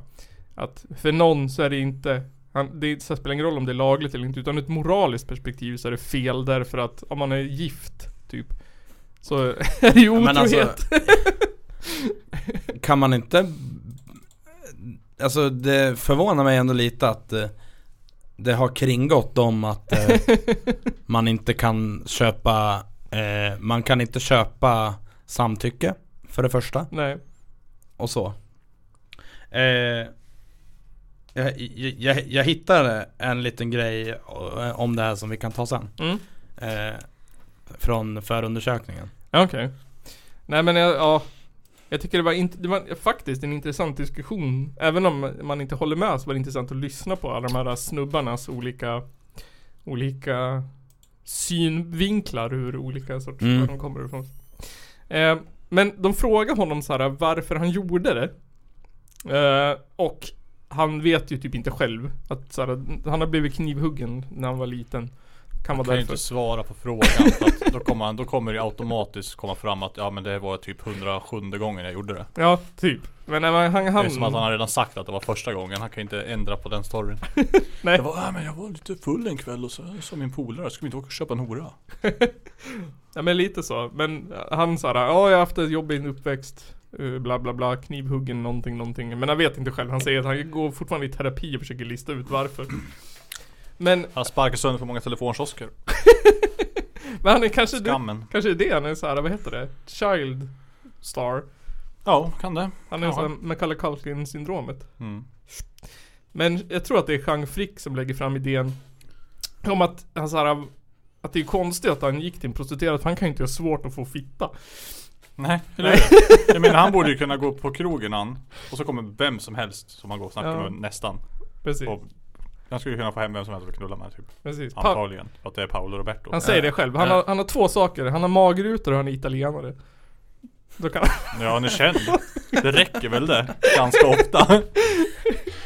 Speaker 2: att för någon så är det inte han, det så här spelar ingen roll om det är lagligt eller inte utan ur ett moraliskt perspektiv så är det fel därför att om man är gift typ Så <laughs> är det ju
Speaker 4: Ja, men
Speaker 2: otrohet. <laughs>
Speaker 4: alltså- Kan man inte... Alltså det förvånar mig ändå lite att eh, det har kringgått dem att eh, <laughs> man inte kan köpa... Eh, man kan inte köpa samtycke för det första
Speaker 2: Nej.
Speaker 4: och så. Eh, jag, jag, jag hittade en liten grej eh, om det här som vi kan ta sen.
Speaker 2: Mm.
Speaker 4: Eh, från förundersökningen.
Speaker 2: Ja, Okej. Nej men jag, ja. Jag tycker det var, int- det var faktiskt en intressant diskussion. Även om man inte håller med så var det intressant att lyssna på alla de här snubbarnas olika, olika synvinklar ur olika sorters,
Speaker 4: Mm.
Speaker 2: var de kommer ifrån. Eh, men de frågar honom så här varför han gjorde det. Eh, och han vet ju typ inte själv att så här, han har blivit knivhuggen när han var liten.
Speaker 3: Han
Speaker 2: Kan vara
Speaker 3: kan ju
Speaker 2: därför.
Speaker 3: inte svara på frågan för
Speaker 2: <laughs>
Speaker 3: att då, kommer, han- då kommer det automatiskt komma fram att ja men det var typ 107 gången jag gjorde det.
Speaker 2: Ja, typ. Men när man, han,
Speaker 3: Det
Speaker 2: han,
Speaker 3: är som att han har redan sagt att det var första gången. Han kan ju inte ändra på den
Speaker 2: <laughs>
Speaker 3: storyn.
Speaker 2: Nej.
Speaker 3: Jag var, äh, men jag var lite full en kväll och så sa min polare, ska vi inte åka och köpa en hora?
Speaker 2: Ja men lite så, men han såhär, ja jag har haft en jobbig uppväxt eh, Bla bla bla, knivhuggen någonting någonting. Men han vet inte själv. Han säger att han går fortfarande i terapi och försöker lista ut varför. Men...
Speaker 3: Han sparkar sönder för många telefonkiosker.
Speaker 2: Men han är kanske...
Speaker 3: Skammen.
Speaker 2: Kanske är det han är såhär, vad heter det? Child Star.
Speaker 3: Ja, kan det.
Speaker 2: Han är
Speaker 3: Ja.
Speaker 2: såhär Macaulay Culkin syndromet.
Speaker 3: Mm.
Speaker 2: Men jag tror att det är Jean Frick som lägger fram idén om att han såhär, att det är konstigt att han gick till en prostituerad för han kan ju inte ha svårt att få fitta.
Speaker 3: Nej, eller
Speaker 2: Nej.
Speaker 3: hur? Jag menar han borde ju kunna gå på krogen han. Och så kommer vem som helst som han går och snackar
Speaker 2: Ja.
Speaker 3: med nästan.
Speaker 2: Precis.
Speaker 3: Och han skulle kunna få hem vem som helst och knulla med typ.
Speaker 2: Precis. Pa-
Speaker 3: Antagligen. För att det är Paolo Roberto.
Speaker 2: Han säger det själv. Han
Speaker 3: Ja.
Speaker 2: har, han har två saker. Han har magrutor och han är italienare. Då
Speaker 3: <laughs>
Speaker 2: kan
Speaker 3: Ja, han är känd. Det räcker väl det? Ganska ofta.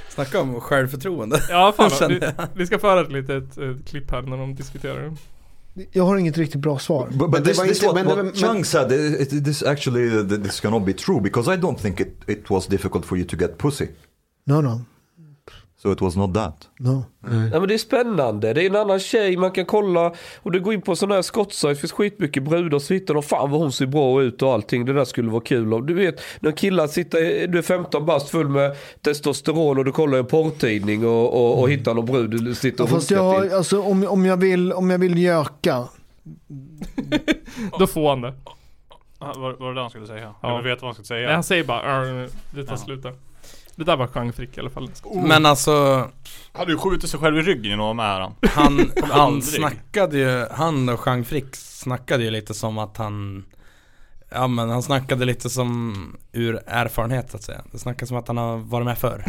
Speaker 4: Snacka om självförtroende.
Speaker 2: Ja, <laughs> fan.
Speaker 4: Kände
Speaker 2: Vi, vi ska föra ett litet eh, klipp här när de diskuterar det.
Speaker 9: Jag har inget riktigt bra svar.
Speaker 6: But, but
Speaker 9: det
Speaker 6: this,
Speaker 9: var
Speaker 6: this
Speaker 9: inte-
Speaker 6: what,
Speaker 9: men-
Speaker 6: what
Speaker 9: men-
Speaker 6: Chang said, it, it, this actually, uh, th- this cannot be true because I don't think it, it was difficult for you to get pussy.
Speaker 9: No, no,
Speaker 6: So it was not that.
Speaker 9: no.
Speaker 10: Nej men det är spännande, det är en annan tjej, man kan kolla och du går in på sån här skottsajt, finns skitmycket brudar så hittar de fan vad hon ser bra ut och allting, det där skulle vara kul om. Du vet, när killar sitter, du är 15 bast full med testosteron och du kollar i en porrtidning och, och, och hittar någon brud du sitter
Speaker 9: Ja,
Speaker 10: och
Speaker 9: fast
Speaker 10: runkar
Speaker 9: jag, har-
Speaker 10: till.
Speaker 9: alltså, om, om, jag vill, om jag vill göka.
Speaker 2: Då får han det.
Speaker 3: Ah, Var, var det det han skulle säga? Ja. Jag vet vad han skulle säga.
Speaker 2: Nej, han säger bara "Arr, det tar slut där. Det där var Jean Frick i alla fall.
Speaker 4: Men alltså,
Speaker 3: Han hade ju skjutit sig själv i ryggen genom att vara med han.
Speaker 4: han, han
Speaker 3: Aldrig.
Speaker 4: snackade ju, han och Jean Frick snackade ju lite som att han Ja men han snackade lite som ur erfarenhet så att säga. Det snackade som att han har varit med förr.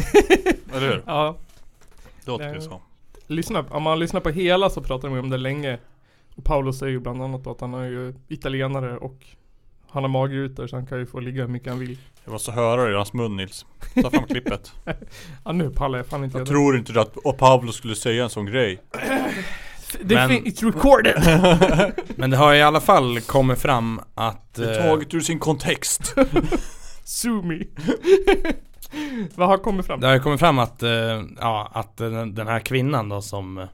Speaker 3: Eller hur?
Speaker 2: Ja.
Speaker 3: Låter
Speaker 2: Nej.
Speaker 3: det så.
Speaker 2: Lyssna, om man lyssnar på hela så pratar de ju om det länge. Och Paolo säger ju bland annat att han är ju italienare och han har magrutor så han kan ju få ligga hur mycket han vill.
Speaker 3: Jag måste höra det i hans mun Nils. Ta fram klippet.
Speaker 2: Ja nu pallar jag fan inte
Speaker 3: Jag
Speaker 2: göra
Speaker 3: tror inte att och Pablo skulle säga en sån grej.
Speaker 2: Det
Speaker 4: Men-
Speaker 2: fin- it's recorded! <laughs>
Speaker 4: Men det har i alla fall kommit fram att...
Speaker 3: Det är
Speaker 4: eh,
Speaker 3: taget ur sin
Speaker 2: <laughs>
Speaker 3: kontext.
Speaker 2: Sumi. <laughs> Vad har kommit fram?
Speaker 4: Det har ju kommit fram att, eh, ja, att den, den här kvinnan då som, eh,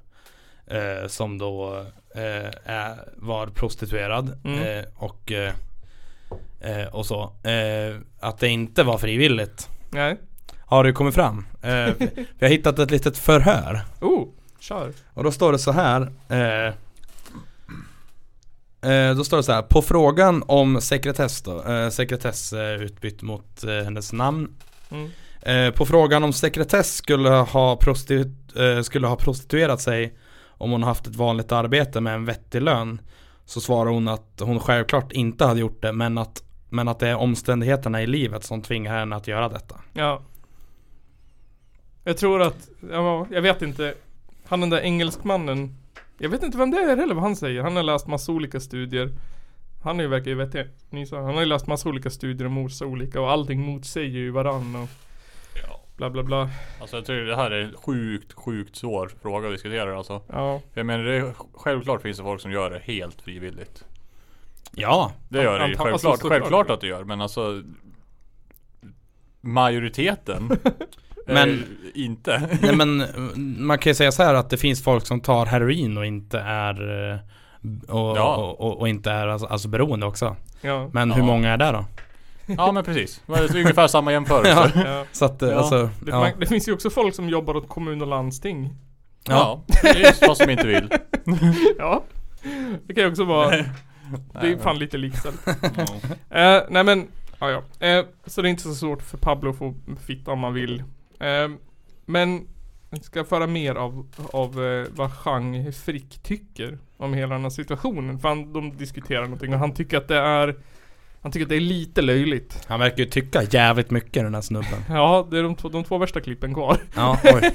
Speaker 4: som då eh, är, var prostituerad
Speaker 2: Mm.
Speaker 4: eh, och, eh, eh, och så. Eh, att det inte var frivilligt.
Speaker 2: Nej.
Speaker 4: Har det ju kommit fram. Eh, vi har hittat ett litet förhör.
Speaker 2: Oh, kör.
Speaker 4: Och då står det så här. Eh, Eh, då står det så här, på frågan om sekretess då, eh, sekretess eh, utbytt mot eh, hennes namn.
Speaker 2: Mm.
Speaker 4: Eh, på frågan om sekretess skulle ha, prostitu- eh, skulle ha prostituerat sig om hon haft ett vanligt arbete med en vettig lön. Så svarar hon att hon självklart inte hade gjort det men att, men att det är omständigheterna i livet som tvingar henne att göra detta.
Speaker 2: Ja. Jag tror att, ja, jag vet inte. Han den där engelskmannen. Jag vet inte vem det är heller vad han säger. Han har läst massa olika studier. Han är ju verkar ju vettig. Ni sa, Han har ju läst massa olika studier om massa olika och allting motsäger ju varann och bla bla bla.
Speaker 3: Alltså jag tycker det här är en sjukt, sjukt svår fråga att diskutera alltså.
Speaker 2: Ja.
Speaker 3: Jag menar det är, självklart finns det folk som gör det helt frivilligt.
Speaker 4: Ja.
Speaker 3: Det gör det ju.
Speaker 2: Antal-
Speaker 3: Självklart,
Speaker 2: alltså, såklart.
Speaker 3: självklart att det gör. Men alltså Majoriteten är
Speaker 4: Men-
Speaker 3: Inte.
Speaker 4: Nej men eh, man kan ju säga så här att det finns folk som tar heroin och inte är eh, och,
Speaker 3: Ja.
Speaker 4: och, och, och inte är alltså, alltså beroende också.
Speaker 2: Ja.
Speaker 4: Men
Speaker 3: Ja.
Speaker 4: hur många är det då?
Speaker 3: Ja men precis. Det var ungefär samma jämförelse.
Speaker 4: <laughs> Ja. Så att, eh, alltså,
Speaker 2: Det,
Speaker 4: ja.
Speaker 2: man, det finns ju också folk som jobbar åt kommun och landsting.
Speaker 3: Ja, det är just vad som inte vill.
Speaker 2: ja. Det kan ju också vara... Det är ju
Speaker 3: Nej,
Speaker 2: fan
Speaker 3: men-
Speaker 2: lite likställt.
Speaker 3: Ja.
Speaker 2: Eh, nej men, ja, ja. Eh, Så det är inte så svårt för Pablo att få fitta om man vill. Eh, men, jag ska föra mer av, av eh, vad Chang Frick tycker om hela den här situationen. För han, de diskuterar någonting och han tycker att det är han tycker att det är lite löjligt.
Speaker 4: Han verkar ju tycka jävligt mycket den här snubben.
Speaker 2: Ja, det är de två, de två värsta klippen kvar.
Speaker 4: Ja, oj.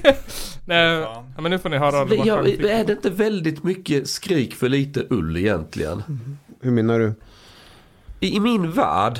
Speaker 2: Nej, ja, men nu får ni höra vad
Speaker 10: Ja,
Speaker 2: Chang Frick
Speaker 10: är det inte väldigt mycket skrik för lite ull egentligen?
Speaker 12: Hur menar du?
Speaker 10: I, i min värld.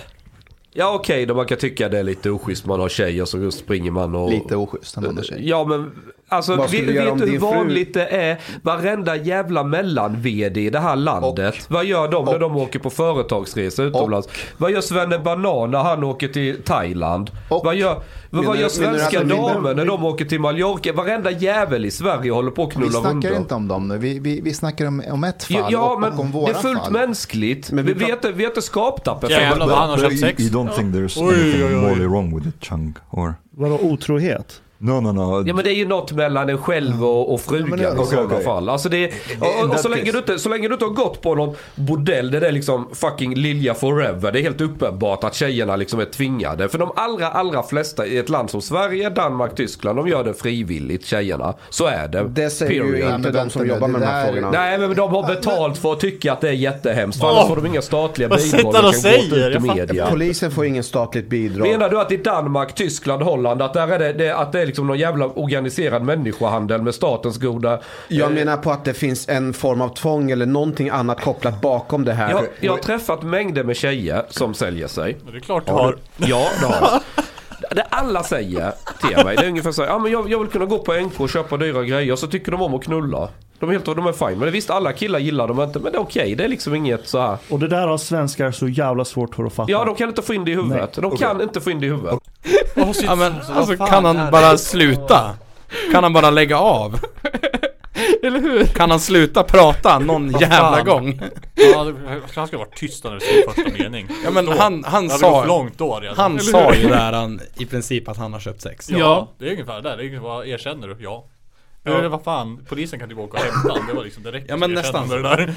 Speaker 10: Ja okej, då man kan tycka det är lite oschysst man har tjejer så springer man och...
Speaker 12: Lite oschysst när man har tjejer.
Speaker 10: Ja men alltså
Speaker 12: Vad
Speaker 10: vet,
Speaker 12: skulle du göra
Speaker 10: vet
Speaker 12: om
Speaker 10: du hur
Speaker 12: din fru-
Speaker 10: vanligt det är? Varenda jävla mellan-VD i det här landet. vad gör de när de åker på företagsresa utomlands? vad gör Svenne Banan när han åker till Thailand? vad gör, vad,
Speaker 12: Menar
Speaker 10: vad
Speaker 12: du- menar
Speaker 10: gör
Speaker 12: du alltså- att
Speaker 10: svenska
Speaker 12: de blir-
Speaker 10: damer när de åker till Mallorca? Varenda jävel i Sverige håller på att
Speaker 12: Vi
Speaker 10: knulla
Speaker 12: snackar
Speaker 10: hundar.
Speaker 12: inte om dem nu. Vi, vi, vi snackar om, om ett fall
Speaker 10: Ja,
Speaker 12: och,
Speaker 10: men
Speaker 12: och om
Speaker 10: det
Speaker 12: våra
Speaker 10: är fullt
Speaker 12: fall.
Speaker 10: mänskligt.
Speaker 12: Men
Speaker 10: vi
Speaker 12: vi
Speaker 10: vet, vet det skaptappen.
Speaker 12: Jävlar vad han har
Speaker 10: Men-
Speaker 12: köpt sex.
Speaker 10: men-
Speaker 6: don't think there's
Speaker 10: Oj,
Speaker 6: anything
Speaker 10: oj, oj.
Speaker 6: morally wrong with it, Chunk. Or...
Speaker 11: Vadå otrohet?
Speaker 6: No, no, no.
Speaker 10: Ja men det är ju något mellan en själv och, och frugan
Speaker 6: det är det.
Speaker 10: i sådana
Speaker 6: Okej, okej.
Speaker 10: fall. Alltså det är, och, och, och
Speaker 6: that
Speaker 10: så, länge
Speaker 6: case.
Speaker 10: du inte, så länge du inte har gått på någon bordell där det är liksom fucking Lilja forever. Det är helt uppenbart att tjejerna liksom är tvingade. För de allra, allra flesta i ett land som Sverige, Danmark, Tyskland, de gör det frivilligt tjejerna. Så är det.
Speaker 13: Det säger ju inte de som jobbar med de här frågorna.
Speaker 10: Nej men de har betalt för att tycka att det är jättehemskt. För
Speaker 13: Åh!
Speaker 10: annars får de inga statliga
Speaker 13: Vad
Speaker 10: bidrag.
Speaker 13: sitter han och
Speaker 10: och kan gå ut
Speaker 13: säger?
Speaker 10: i
Speaker 13: Jag fattar
Speaker 10: media.
Speaker 13: inte. Polisen får ingen statligt bidrag.
Speaker 10: Menar du att i Danmark, Tyskland, Holland att, där är det, det, att det är liksom någon jävla organiserad människohandel med statens goda...
Speaker 13: Jag
Speaker 10: eh,
Speaker 13: menar på att det finns en form av tvång eller någonting annat kopplat bakom det här.
Speaker 10: jag, jag har träffat mängder med tjejer som säljer sig.
Speaker 3: Det är klart
Speaker 13: du har.
Speaker 10: Ja, det har jag. Det alla säger till mig, det är ungefär så här, ja, men jag, jag vill kunna gå på NK och köpa dyra grejer, så tycker de om att knulla. De är helt de är fine. Men visst, alla killar gillar dem inte, men det är okej. Det är liksom inget så här.
Speaker 11: Och det där har svenskar så jävla svårt för att fatta.
Speaker 10: Ja, de kan inte få in det i huvudet. De kan inte få in det i huvudet.
Speaker 4: Ja, men, alltså,
Speaker 10: fan
Speaker 4: kan
Speaker 10: är det?
Speaker 4: han bara sluta? Kan han bara
Speaker 10: <laughs>
Speaker 4: lägga av?
Speaker 2: Eller hur?
Speaker 4: Kan han sluta prata någon
Speaker 3: Vad
Speaker 4: jävla
Speaker 3: fan?
Speaker 4: gång?
Speaker 10: <laughs>
Speaker 3: Ja, det- han ska vara tyst när du säger första mening.
Speaker 4: Ja men
Speaker 3: Då.
Speaker 4: han, han
Speaker 3: Det hade
Speaker 4: sa,
Speaker 3: gått långt då redan.
Speaker 4: han
Speaker 3: Eller
Speaker 4: sa
Speaker 3: hur?
Speaker 4: ju där han, i princip att han har köpt sex.
Speaker 3: Ja, det är ungefär där. Det är ungefär, vad erkänner du? Ja.
Speaker 4: Ja.
Speaker 3: Eller vad fan, polisen kan tillbaka och hämta honom. Det var liksom direkt
Speaker 4: Ja, men nästan
Speaker 3: det där.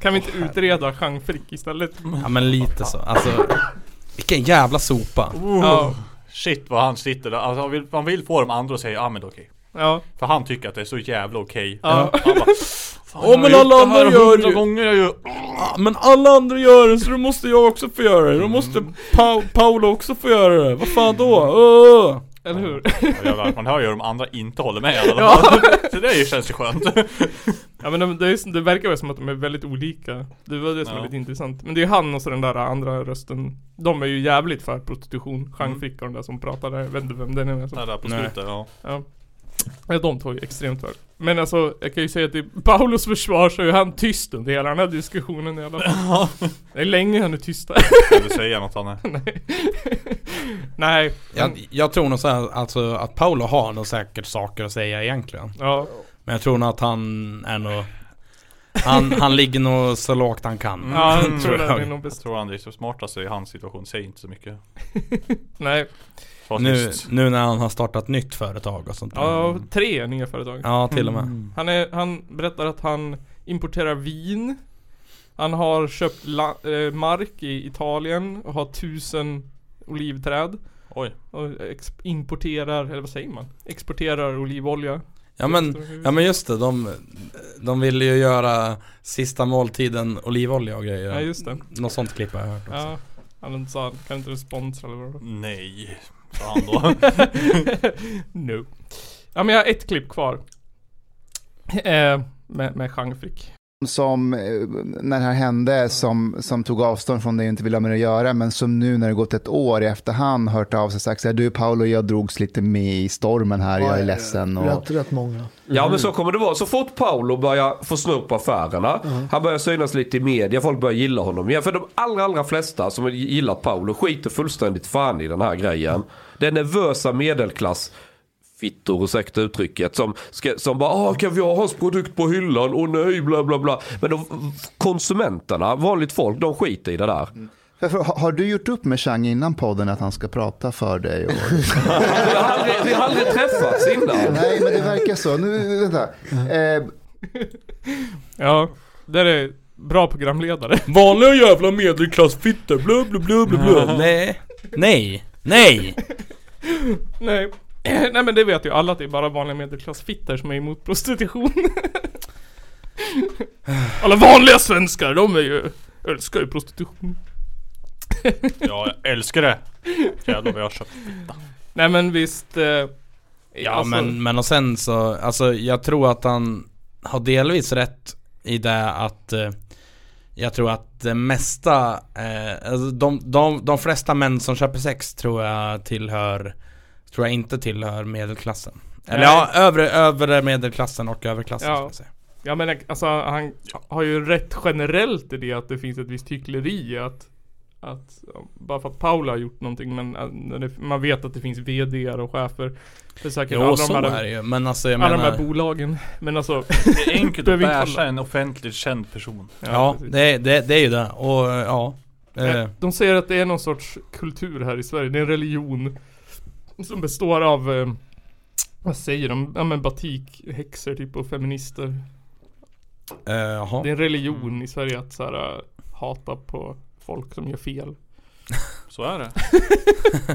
Speaker 2: Kan vi inte utreda Jean Frick istället?
Speaker 4: Ja men lite så, alltså Vilken jävla sopa
Speaker 3: Ja. Shit vad han sitter där. Alltså, han, vill, han vill få de andra att säga ja ah, men det är okej.
Speaker 2: Ja.
Speaker 3: För han tycker att det är så jävla okej.
Speaker 4: Ja.
Speaker 3: Han bara, "Fan,
Speaker 4: Åh,
Speaker 3: jag
Speaker 4: men
Speaker 3: har
Speaker 4: alla
Speaker 3: gjort det här
Speaker 4: andra gör
Speaker 3: hundra
Speaker 4: ju-
Speaker 3: gånger jag gör.
Speaker 4: Ja, Men alla andra gör det så då måste jag också få göra det, då måste pa- Paolo också få göra det, vad fan då? Öh!
Speaker 2: Eller hur?
Speaker 3: Jävlar, man hör ju hur de andra inte håller med i alla fall. <laughs> Så det är ju- känns ju skönt.
Speaker 2: ja men de, det, är, det verkar väl som att de är väldigt olika. Det var det som
Speaker 3: Ja.
Speaker 2: är lite intressant. Men det är ju han och så den där andra rösten. De är ju jävligt för prostitution. Jean Frick och den där som pratar där. Jag vet inte vem den är. Som...
Speaker 3: Den där på
Speaker 2: Nej.
Speaker 3: slutet, Mm.
Speaker 4: <laughs>
Speaker 3: ja.
Speaker 2: Ja. Ja, de två är extremt för. Men alltså, jag kan ju säga att i Paulos försvar så är ju han tyst under hela den här diskussionen i
Speaker 3: <laughs>
Speaker 2: alla fall. Det är länge han är tyst <laughs> där.
Speaker 3: Ska du säga något Hanne?
Speaker 2: Nej. Nej.
Speaker 4: Jag, jag tror nog så här, alltså att Paolo har nog säkert saker att säga egentligen
Speaker 2: Ja.
Speaker 4: Men jag tror nog att han är nog Han, han ligger nog så lågt han kan
Speaker 2: Ja, jag
Speaker 3: Mm.
Speaker 2: tror det. Det är nog
Speaker 3: Jag tror han är så smartaste i hans situation, säg inte så mycket.
Speaker 2: Nej.
Speaker 3: Var
Speaker 4: nu,
Speaker 3: tyst.
Speaker 4: nu när han har startat nytt företag och sånt där.
Speaker 2: Ja, tre nya företag.
Speaker 4: Ja, till och med. Mm.
Speaker 2: Han, är, han berättar att han importerar vin. Han har köpt la, eh, mark i Italien och har tusen olivträd.
Speaker 3: Oj.
Speaker 2: Och ex- importerar, eller vad säger man? Exporterar olivolja.
Speaker 4: Ja men, ja men just det, de, de ville ju göra sista måltiden olivolja och grejer
Speaker 2: Ja, just det.
Speaker 4: Något sånt klipp har jag hört också.
Speaker 2: Ja, han sa kan inte du sponsra eller
Speaker 4: <laughs>
Speaker 2: vad
Speaker 3: Nej, sa han då.
Speaker 2: no. Ja men jag har ett klipp kvar. Eh, med, med Jean Frick.
Speaker 12: som eh, när det här hände som, som tog avstånd från det och inte ville ha med det att göra men som nu när det gått ett år i efterhand hört av sig och sagt så här, du Paolo jag drogs lite med i stormen här, jag är ledsen. Och...
Speaker 9: Rätt, rätt många.
Speaker 10: Ja men så kommer det vara. Så fort Paolo börjar få snurr på affärerna. Han börjar synas lite i media. Folk börjar gilla honom igen. För de allra, allra flesta som har gillat Paolo skiter fullständigt fan i den här grejen. Den nervösa medelklass fittor, ursäkta uttrycket, som, ska, som bara ah, kan vi ha hans produkt på hyllan? Åh nej, bla bla bla. Men de, konsumenterna, vanligt folk, de skiter i det där.
Speaker 12: För- för- Har du gjort upp med Chang innan podden att han ska prata för dig? Och...
Speaker 10: Vi har aldrig, vi har aldrig träffats innan.
Speaker 12: Nej men det verkar så. Nu, vänta. Eh,
Speaker 2: Ja, där är bra programledare.
Speaker 4: Vanliga jävla medelklassfittor, blö blö blö blö blö. Nej. Nej. Nej.
Speaker 2: Nej. <clears throat> Nej men det vet ju alla att det är bara vanliga medelklassfittor som är emot prostitution. <laughs> alla vanliga svenskar, de är ju, älskar ju prostitution.
Speaker 3: Ja, jag älskar det. Jävlar vad jag har köpt.
Speaker 2: Nej men visst. Eh, alltså- ja
Speaker 4: Ja men, men och sen så, alltså jag tror att han har delvis rätt i det att eh, jag tror att det mesta, eh, alltså de, de, de flesta män som köper sex tror jag tillhör, tror jag inte tillhör medelklassen. Eller
Speaker 2: Nej.
Speaker 4: ja, övre, övre medelklassen och överklassen ska
Speaker 2: Ja.
Speaker 4: jag säga.
Speaker 2: Ja men alltså han har ju rätt generellt i det att det finns ett visst hyckleri i att att ja, bara för att Paula har gjtt någonting men eh, när det, man vet att det finns VDR och chefer. Det är säkert
Speaker 4: Jo,
Speaker 2: alla
Speaker 4: så
Speaker 2: de här,
Speaker 4: är det ju, men alltså, jag
Speaker 2: alla
Speaker 4: menar-
Speaker 2: de här bolagen. Men alltså.
Speaker 3: Det är enkelt att
Speaker 2: behöver inte
Speaker 3: bärsa
Speaker 2: kolla.
Speaker 3: en offentligt känd person.
Speaker 4: Ja, det, det, det är ju det. Och eh, ja, Eh,
Speaker 2: De säger att det är någon sorts kultur här i Sverige. Det är en religion som består av, eh, vad säger de? Ja men batikhäxor typ och feminister.
Speaker 4: eh, jaha.
Speaker 2: Det är
Speaker 3: Mm.
Speaker 2: en religion i Sverige att så här, eh, hata på folk som gör fel.
Speaker 3: Så är det.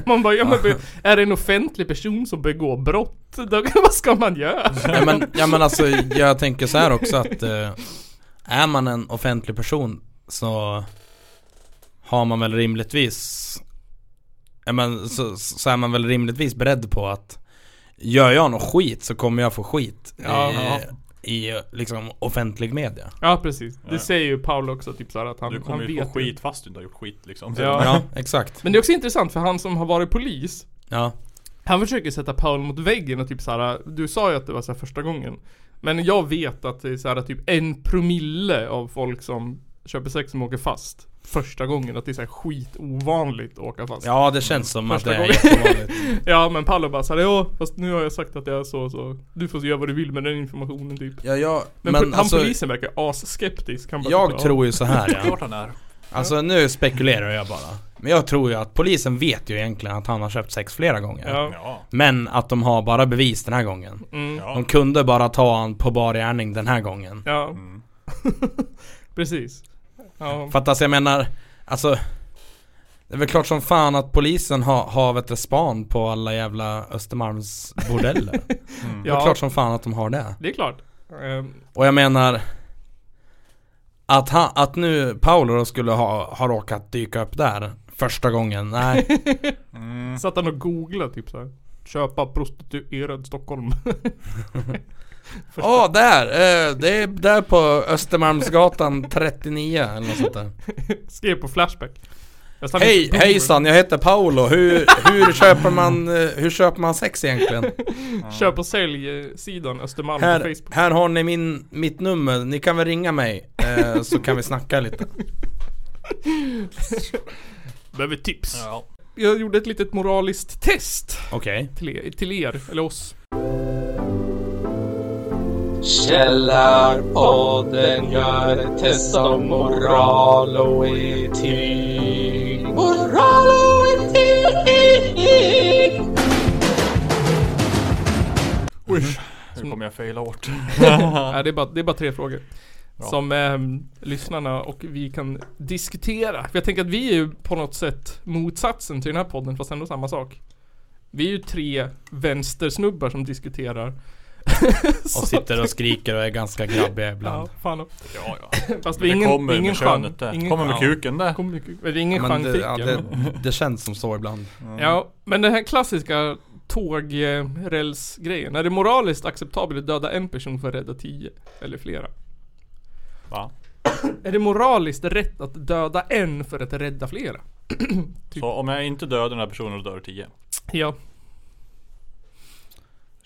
Speaker 2: Man
Speaker 3: <laughs>
Speaker 2: bara, ja, men, be- är det en offentlig person som begår brott? <laughs> Då, vad ska man göra?
Speaker 4: ja, men, ja men alltså jag tänker så här också att eh, Är man en offentlig person så Har man väl rimligtvis ja, men, så, så är man väl rimligtvis beredd på att Gör jag något skit så kommer jag få skit
Speaker 2: Ja.
Speaker 4: i, i liksom offentlig media
Speaker 2: Ja precis, det säger ju Paul också typ såhär att han,
Speaker 3: Du kommer
Speaker 2: han
Speaker 3: ju
Speaker 2: vet
Speaker 3: få skit fast du inte har gjort skit liksom.
Speaker 2: Ja.
Speaker 4: Ja, exakt.
Speaker 2: Men det är också intressant för han som har varit polis
Speaker 4: Ja.
Speaker 2: Han försöker sätta Paul mot väggen och typ såhär Du sa ju att det var såhär första gången Men jag vet att det är såhär typ en promille av folk som köper sex som åker fast Första gången, att det är såhär skitovanligt att åka fast
Speaker 4: Ja, det känns som att det är
Speaker 2: gången.
Speaker 4: jättevanligt.
Speaker 2: Ja men Paul bara såhär ja fast nu har jag sagt att jag är så och så Du får göra vad du vill med den informationen typ
Speaker 4: Ja, ja,
Speaker 2: Men,
Speaker 4: men
Speaker 2: po- han
Speaker 4: alltså-
Speaker 2: polisen verkar asskeptisk Han bara,
Speaker 4: Jag
Speaker 2: typ,
Speaker 4: tror ju så här ja.
Speaker 3: Klart han är.
Speaker 4: Alltså nu spekulerar jag bara. Men jag tror ju att polisen vet ju egentligen att han har köpt sex flera gånger.
Speaker 2: Ja. Ja.
Speaker 4: Men att de har bara bevis den här gången.
Speaker 2: Mm. Ja.
Speaker 4: De kunde bara ta han på bar gärning den här gången.
Speaker 2: Ja <laughs> Precis ja.
Speaker 4: För att alltså jag menar, alltså. Det är väl klart som fan att polisen har, har vet du, span på alla jävla Östermalms bordeller. Mm. Det är
Speaker 2: <laughs> Ja.
Speaker 4: klart som fan att de har det.
Speaker 2: Det är klart Ehm,
Speaker 4: Och jag menar att, han, att nu Paolo då skulle ha, ha råkat dyka upp där första gången,
Speaker 2: <laughs>
Speaker 4: nej. Mm.
Speaker 2: Satt han och googlade typ såhär Köpa prostituerad Stockholm <laughs>
Speaker 4: Åh, där! Eh, det är där på Östermalmsgatan 39 eller något sånt där.
Speaker 2: Skrev på Flashback Jag stannade
Speaker 4: Hej,
Speaker 2: i Bro-
Speaker 4: hejsan, jag heter Paolo. Hur, hur, köper man, eh, hur köper man sex egentligen?
Speaker 2: Köp och sälj eh, sidan Östermalm på
Speaker 4: Här,
Speaker 2: Facebook
Speaker 4: här har ni min, mitt nummer, ni kan väl ringa mig eh, så kan vi snacka lite.
Speaker 2: Behöver tips
Speaker 3: ja.
Speaker 2: Jag gjorde ett litet moraliskt test <laughs>
Speaker 4: Okej
Speaker 2: till, er, till er, eller oss
Speaker 8: Källarpodden gör ett test av moral och etik. Moral och etik!
Speaker 3: Usch. Nu kommer jag faila hårt.
Speaker 2: Mm. Nej, det, är bara, det är bara tre frågor.
Speaker 3: Bra.
Speaker 2: Som ehm, lyssnarna och vi kan diskutera. För jag tänker att vi är ju på något sätt motsatsen till den här podden fast ändå samma sak. Vi är ju tre vänstersnubbar som diskuterar. <laughs>
Speaker 4: Och sitter och skriker och är ganska grabbiga ibland.
Speaker 2: Ja, fan.
Speaker 3: Ja,
Speaker 2: <laughs>
Speaker 3: ja.
Speaker 2: Fast
Speaker 3: Men
Speaker 2: vi
Speaker 3: det
Speaker 2: ingen,
Speaker 3: kommer
Speaker 2: ingen
Speaker 3: med
Speaker 2: genre.
Speaker 3: könet där.
Speaker 2: ingen
Speaker 3: Kommer med
Speaker 2: genre.
Speaker 3: kuken där.
Speaker 2: Kommer med kuken. Men det är ingen
Speaker 4: Men det, ja,
Speaker 2: genrefiken.
Speaker 4: det, det känns som så ibland.
Speaker 2: Ja, men den här klassiska tågrälsgrejen. Är det moraliskt acceptabelt att döda en person för att rädda tio? Eller flera?
Speaker 3: Va?
Speaker 2: Är det moraliskt rätt att döda en för att rädda flera? Typ.
Speaker 3: Så om jag inte dödar den här personen då dör 10.
Speaker 2: Ja.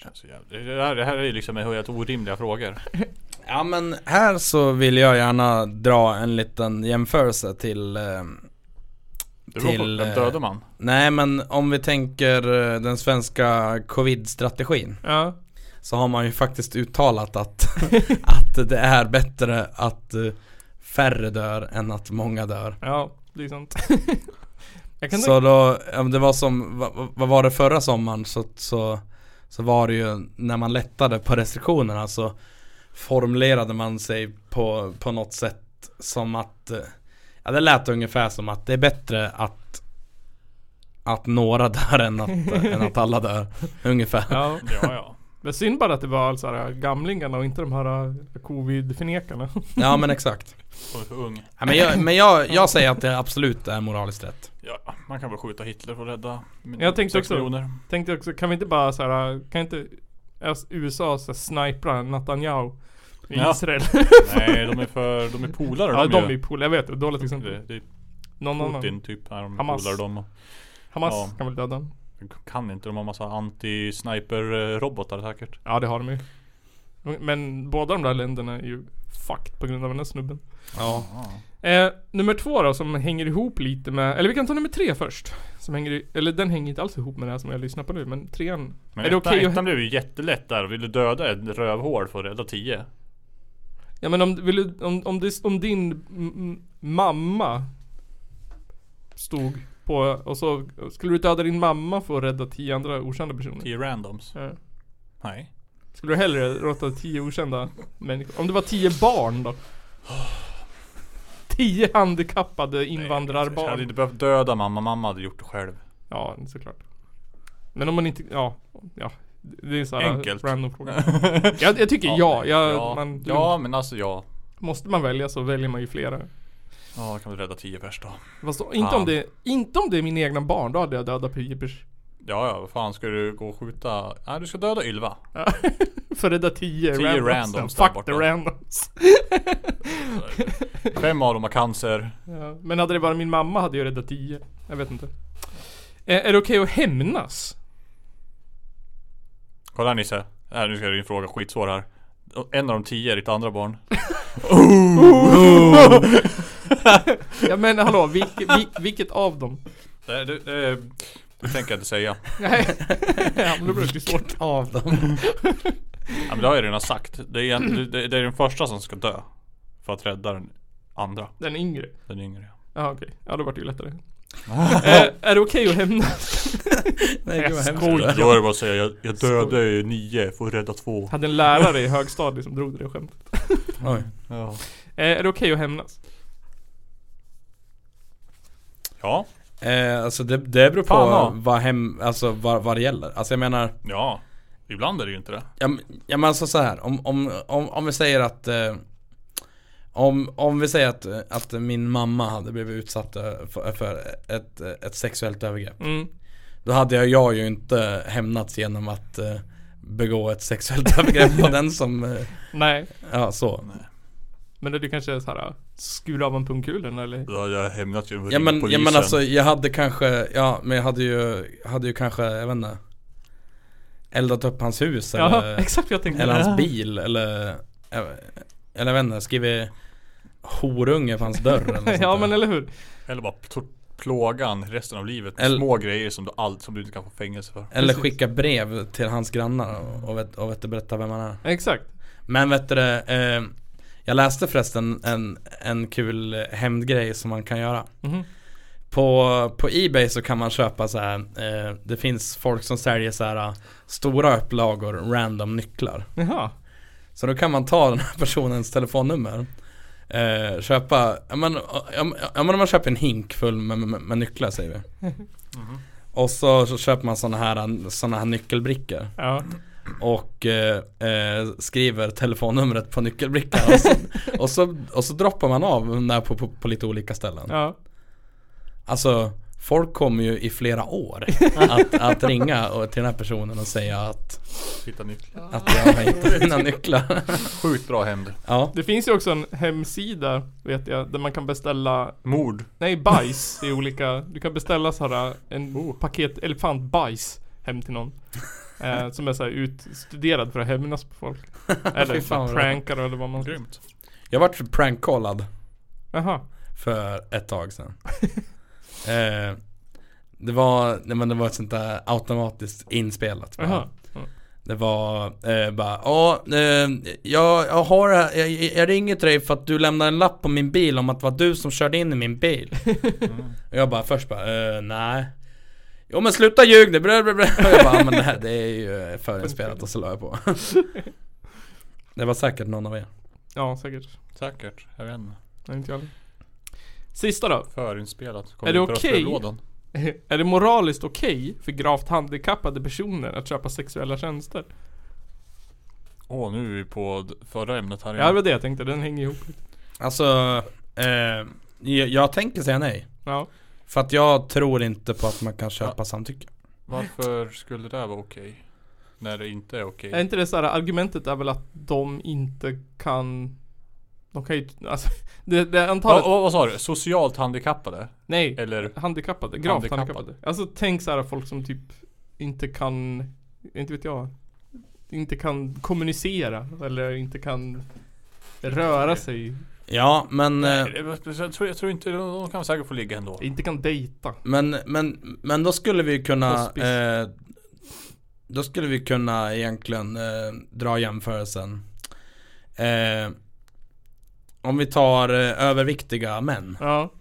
Speaker 3: Känns så jävla... det, här, det här är ju liksom helt orimliga frågor.
Speaker 4: Ja men här så vill jag gärna dra en liten jämförelse till... Eh,
Speaker 3: beror på vem
Speaker 4: eh,
Speaker 3: dödar man?
Speaker 4: Nej men om vi tänker eh, den svenska covid-strategin.
Speaker 2: Ja.
Speaker 4: Så har man ju faktiskt uttalat att, <laughs> att det är bättre att eh, färre dör än att många dör.
Speaker 2: Ja, det är <laughs> sant. Jag kan
Speaker 4: Så då, ja, men det var som, vad, vad var det förra sommaren så, så, så var det ju när man lättade på restriktionerna så formulerade man sig på, på något sätt som att, eh, ja det lät ungefär som att det är bättre att att några <laughs> dör än att, än att alla dör. Ungefär.
Speaker 2: Ja. Men synd bara att det var alltså här gamlingarna och inte de här eh, covid-förnekarna. <laughs>
Speaker 4: Ja, men exakt.
Speaker 3: Och för ung.
Speaker 4: Ja, men jag, men jag, jag säger att det absolut är moraliskt rätt.
Speaker 3: Ja, man kan väl skjuta Hitler för att rädda min-
Speaker 2: Jag tänkte
Speaker 3: sex
Speaker 2: också,
Speaker 3: miljoner.
Speaker 2: tänkte också, kan vi inte bara så här, kan inte ös- USA så här, snipra Netanyahu i
Speaker 3: Ja.
Speaker 2: Israel?
Speaker 3: Nej, de är för- de är polare,
Speaker 2: <laughs> Ja,
Speaker 3: de
Speaker 2: de
Speaker 3: ju.
Speaker 2: är polare, jag vet. det är Dåligt exempel.
Speaker 3: Det- det är
Speaker 2: Någon annan.
Speaker 3: eh, Putin typ, när de
Speaker 2: Hamas.
Speaker 3: polare dem. och-
Speaker 2: Hamas
Speaker 3: Ja.
Speaker 2: kan väl döda dem?
Speaker 3: Kan inte, de har massa anti-sniper-robotar säkert.
Speaker 2: Ja, det har de ju. Men båda de där länderna är ju fucked på grund av den här snubben.
Speaker 4: Ja.
Speaker 2: Eh, nummer två då som hänger ihop lite med, eller vi kan ta nummer tre först. Som hänger, i- eller den hänger inte alls ihop med det här som jag lyssnar på nu, men trean.
Speaker 3: Men
Speaker 2: är det okej
Speaker 3: ettan
Speaker 2: att...
Speaker 3: blev ju jättelätt där. Vill du döda ett rövhål för att rädda 10?
Speaker 2: Ja men om, vill du, om, om, det, om din m- m- mamma stod på, och så skulle du döda din mamma för att rädda tio andra okända personer?
Speaker 3: Tio randoms?
Speaker 2: Ja.
Speaker 3: Nej.
Speaker 2: Skulle du hellre råta tio okända människor? Om det var tio barn då? Tio handikappade
Speaker 3: Jag hade
Speaker 2: invandrarbarn.
Speaker 3: inte behövt döda mamma, mamma hade gjort det själv.
Speaker 2: Ja, såklart. Men om man inte, ja, ja. Det är så här
Speaker 3: Enkelt.
Speaker 2: random
Speaker 3: <laughs>
Speaker 2: fråga. jag, jag tycker <laughs> ja. Jag,
Speaker 3: ja,
Speaker 2: man,
Speaker 3: ja, men alltså ja.
Speaker 2: Måste man välja så väljer man ju flera.
Speaker 3: Ja, då kan vi rädda tio pers då.
Speaker 2: Fast då, inte,
Speaker 3: Fan.
Speaker 2: om det, inte om det är mina egna barn, då hade jag dödat Pipers.
Speaker 3: Ja, ja, vad fan ska du gå och skjuta? Nej, du ska döda Ylva.
Speaker 2: För det där tio,
Speaker 3: Tio
Speaker 2: randomsen.
Speaker 3: randoms där
Speaker 2: Fuck
Speaker 3: borta.
Speaker 2: the randoms.
Speaker 3: Fem av dem har cancer.
Speaker 2: ja, men hade det varit min mamma hade jag räddat tio. Jag vet inte. Eh, är det okej att hämnas?
Speaker 3: Kolla här, Nisse. Äh, nu ska jag din fråga skitsvår här. En av de tio är ditt andra barn.
Speaker 2: ja men hallå, vilk, vilk, vilket av dem?
Speaker 3: Det, det, det, det tänker jag inte säga.
Speaker 2: Nej. ja, men då blir det ju svårt.
Speaker 4: av dem?
Speaker 3: Ja, men det har jag redan sagt. Det är, en, det, det är den första som ska dö. För att rädda den andra.
Speaker 2: Den yngre?
Speaker 3: Den yngre.
Speaker 2: Ja okej, ja då vart det
Speaker 4: <laughs>
Speaker 2: ju lättare. eh, är det okej att hämnas?
Speaker 4: Nej, gud, vad hemskt.
Speaker 3: Skojar. Då är det bara att säga jag, jag dödade ju nio för att rädda två.
Speaker 2: Hade en lärare i högstadiet som drog det där skämtet.
Speaker 4: Oj.
Speaker 3: Ja.
Speaker 2: Eh, är det okej att hämnas?
Speaker 3: Ja.
Speaker 4: Eh, alltså det, det beror på
Speaker 3: Fan, ja.
Speaker 4: vad, hem, alltså, vad, vad det gäller. Alltså jag menar
Speaker 3: Ja. Ibland är det ju inte det.
Speaker 4: Ja, men- ja men alltså så här. Om, om, om, om vi säger att eh, om, om vi säger att, eh, att min mamma hade blivit utsatt eh, för, för ett, eh, ett sexuellt övergrepp.
Speaker 2: Mm.
Speaker 4: Då hade jag, jag ju inte hämnats genom att eh, begå ett sexuellt övergrepp på den som... eh,
Speaker 2: Nej.
Speaker 4: Ja, så.
Speaker 2: Men det är kanske så här, skura av en pungkulen eller?
Speaker 3: Ja, jag har hämnat ju
Speaker 4: Ja men, ja men alltså jag hade kanske, ja men jag hade ju, hade ju kanske, jag vet inte Eldat upp hans hus
Speaker 2: Ja, <laughs>
Speaker 4: eller,
Speaker 2: exakt vad jag tänkte.
Speaker 4: eller
Speaker 2: Ja.
Speaker 4: hans bil eller Eller jag vet inte, skrivit horunge på hans dörr eller något sånt
Speaker 2: <laughs> Ja
Speaker 4: där.
Speaker 2: men eller hur?
Speaker 3: Eller bara tor- plågan resten av livet med
Speaker 4: Eller-
Speaker 3: små grejer som du, all, som du inte kan få fängelse för.
Speaker 4: Eller skicka brev till hans grannar och, och, vet, och vet, du, berätta vem han är
Speaker 2: Exakt
Speaker 4: Men vet du det, eh, Jag läste förresten en, en kul eh, hämndgrej som man kan göra
Speaker 2: Mhm.
Speaker 4: på, på Ebay så kan man köpa så här. Eh, det finns folk som säljer så här eh, stora upplagor random nycklar
Speaker 2: Jaha.
Speaker 4: Så då kan man ta den här <laughs> personens telefonnummer eh, Köpa, ja men, ja, men- ja, men om man köper en hink full med, med, med nycklar säger vi och så, så köper man sådana här, såna här nyckelbrickor.
Speaker 2: Ja.
Speaker 4: Och eh, eh, skriver telefonnumret på nyckelbrickan. Och så,
Speaker 2: <laughs>
Speaker 4: och så, och så droppar man av den där på, på, på lite olika ställen.
Speaker 2: Ja.
Speaker 4: Alltså, folk kommer ju i flera
Speaker 2: <laughs>
Speaker 4: år att, att ringa och, till den här personen och säga att
Speaker 3: Hitta nycklar.
Speaker 4: Att jag har hittat mina nycklar.
Speaker 3: Sjukt bra hämnd.
Speaker 4: Ja.
Speaker 2: Det finns ju också en hemsida, vet jag, där man kan beställa
Speaker 3: Mord?
Speaker 2: Nej, bajs i olika Du kan beställa såhär en
Speaker 4: Oh.
Speaker 2: paket elefantbajs hem till någon eh, Som är såhär utstuderad för att hämnas på folk
Speaker 4: <laughs>
Speaker 2: Eller
Speaker 4: Fy fan
Speaker 2: för
Speaker 4: vad
Speaker 2: prankar eller vad man
Speaker 3: Grymt
Speaker 4: Jag vart prankcallad
Speaker 2: Jaha.
Speaker 4: För ett tag
Speaker 2: <laughs>
Speaker 4: sedan eh, Det var, nej men det var ett sånt där automatiskt inspelat bara.
Speaker 2: Jaha. Ja.
Speaker 4: Det var eh, bara, ja, eh, jag, jag har det här- jag, jag ringer till dig för att du lämnade en lapp på min bil om att det var du som körde in i min bil Och jag bara först bara, eh, nej Jo men sluta ljug nu, brö, brö, brö. Och jag bara, "Ja, men det här det är ju eh, förinspelat och så la jag på Det var säkert någon av er
Speaker 2: Ja, säkert
Speaker 3: Säkert, jag vet inte.
Speaker 2: Nej, inte jag heller. Sista då <laughs>
Speaker 3: Förinspelat. Kommer
Speaker 2: Är det
Speaker 3: inte rösta ur
Speaker 2: okej?
Speaker 3: lådan.
Speaker 2: Är det moraliskt okej för gravt handikappade personer att köpa sexuella tjänster?
Speaker 3: Åh, nu är vi på d- förra ämnet här
Speaker 2: Ja, det var det jag tänkte. Den hänger ihop.
Speaker 4: Alltså, eh, jag, jag tänker säga nej.
Speaker 2: Ja.
Speaker 4: För att jag tror inte på att man kan köpa samtycke.
Speaker 3: Varför skulle det vara okej? När det inte är okej?
Speaker 2: Är inte det så här, argumentet är väl att de inte kan... De kan ju... Alltså, <laughs> det, det är
Speaker 3: Vad
Speaker 2: antalet...
Speaker 3: vad- vad sa du? Socialt handikappade?
Speaker 2: Nej,
Speaker 3: Eller?
Speaker 2: handikappade. Gravt
Speaker 3: Handikappad.
Speaker 2: handikappade. Alltså tänk så här folk som typ inte kan... Inte vet jag. Inte kan kommunicera eller inte kan röra sig.
Speaker 4: Ja, men, eh,
Speaker 3: Nej, det- jag, tror, jag tror inte, de kan säkert få ligga ändå.
Speaker 2: Inte kan dejta.
Speaker 4: men, men, men då skulle vi kunna
Speaker 2: Hospice.
Speaker 4: eh, Då skulle vi kunna egentligen eh, dra jämförelsen eh, Om vi tar eh, överviktiga män
Speaker 2: Ja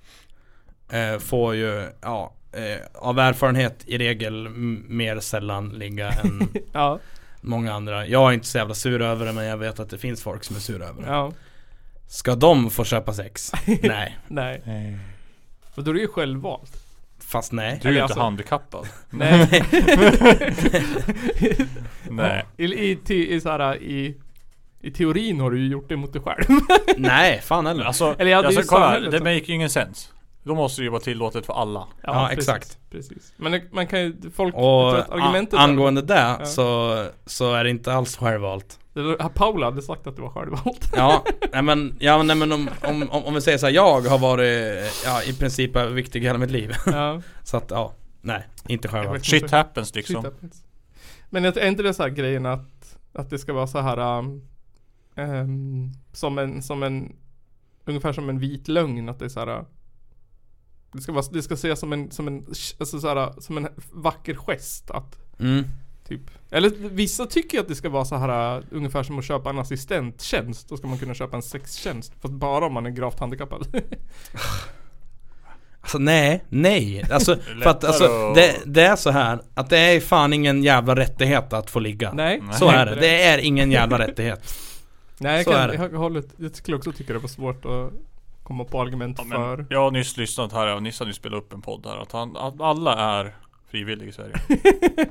Speaker 4: eh, får ju, ja, eh, av erfarenhet i regel m- mer sällan ligga
Speaker 2: <laughs>
Speaker 4: än många andra. Jag är inte så jävla sur över det men jag vet att det finns folk som är sura över det.
Speaker 2: Ja.
Speaker 4: Ska de få köpa
Speaker 2: <laughs>
Speaker 4: sex? Nej.
Speaker 2: Nej. Och då är det ju självvalt. <laughs>
Speaker 4: Fast nej.
Speaker 3: Du är ju inte
Speaker 2: alltså-
Speaker 3: handikappad.
Speaker 2: Nej.
Speaker 3: Nej.
Speaker 2: I, i, te- i, så här, i, I teorin har du ju gjort det mot dig själv.
Speaker 4: Nej, fan heller.
Speaker 3: Alltså,
Speaker 2: Eller ja, det är ju
Speaker 3: alltså kolla här,
Speaker 2: samhället
Speaker 3: det
Speaker 2: som-
Speaker 3: make ingen sense. Då måste det ju vara tillåtet för alla.
Speaker 2: <laughs> Ja, precis, Precis. Men det- man kan ju, folk, jag tror
Speaker 4: Och
Speaker 2: att argumentet
Speaker 4: a- angående det
Speaker 2: Ja.
Speaker 4: så, så är det inte alls självvalt.
Speaker 2: Det var- Paula hade sagt att det var självvalt.
Speaker 4: Ja, nej men, ja, nej, men om, om, om, om vi säger så här, jag har varit ja, i princip överviktig hela mitt liv. <laughs>
Speaker 2: Ja.
Speaker 4: så att ja, nej, inte
Speaker 2: <laughs> Jag
Speaker 4: självvalt.
Speaker 2: vet inte.
Speaker 3: liksom.
Speaker 2: Shit happens. Men jag- är inte det så här grejen att, att det ska vara så här um, ehm, som en, som en, ungefär som en vit lögn att det är så här uh, det ska, vara, det ska ses som en, som en, alltså så här, uh, som en vacker gest att
Speaker 4: Mm.
Speaker 2: Typ. Eller vissa tycker att det ska vara så här uh, ungefär som att köpa en assistenttjänst. Då ska man kunna köpa en sextjänst. Fast bara om man är gravt handikappad. <laughs>
Speaker 4: Alltså nej, nej.
Speaker 2: <laughs>
Speaker 4: Alltså,
Speaker 2: Det är
Speaker 4: för att,
Speaker 2: lättare
Speaker 4: alltså,
Speaker 2: att-
Speaker 4: det, det är så här att det är fan ingen jävla rättighet att få ligga.
Speaker 2: Nej.
Speaker 4: Så
Speaker 2: Nej.
Speaker 4: är det. Det är ingen
Speaker 2: <laughs>
Speaker 4: jävla rättighet.
Speaker 2: Nej, jag,
Speaker 4: så är
Speaker 2: kan,
Speaker 4: det.
Speaker 2: jag, håller, jag skulle också tycka det var svårt att komma på argument
Speaker 3: Men
Speaker 2: för.
Speaker 3: Jag har nyss lyssnat här, och Nisse har nyss spelat upp en podd här, att, han, att alla är frivilliga i
Speaker 2: <laughs>
Speaker 3: Sverige.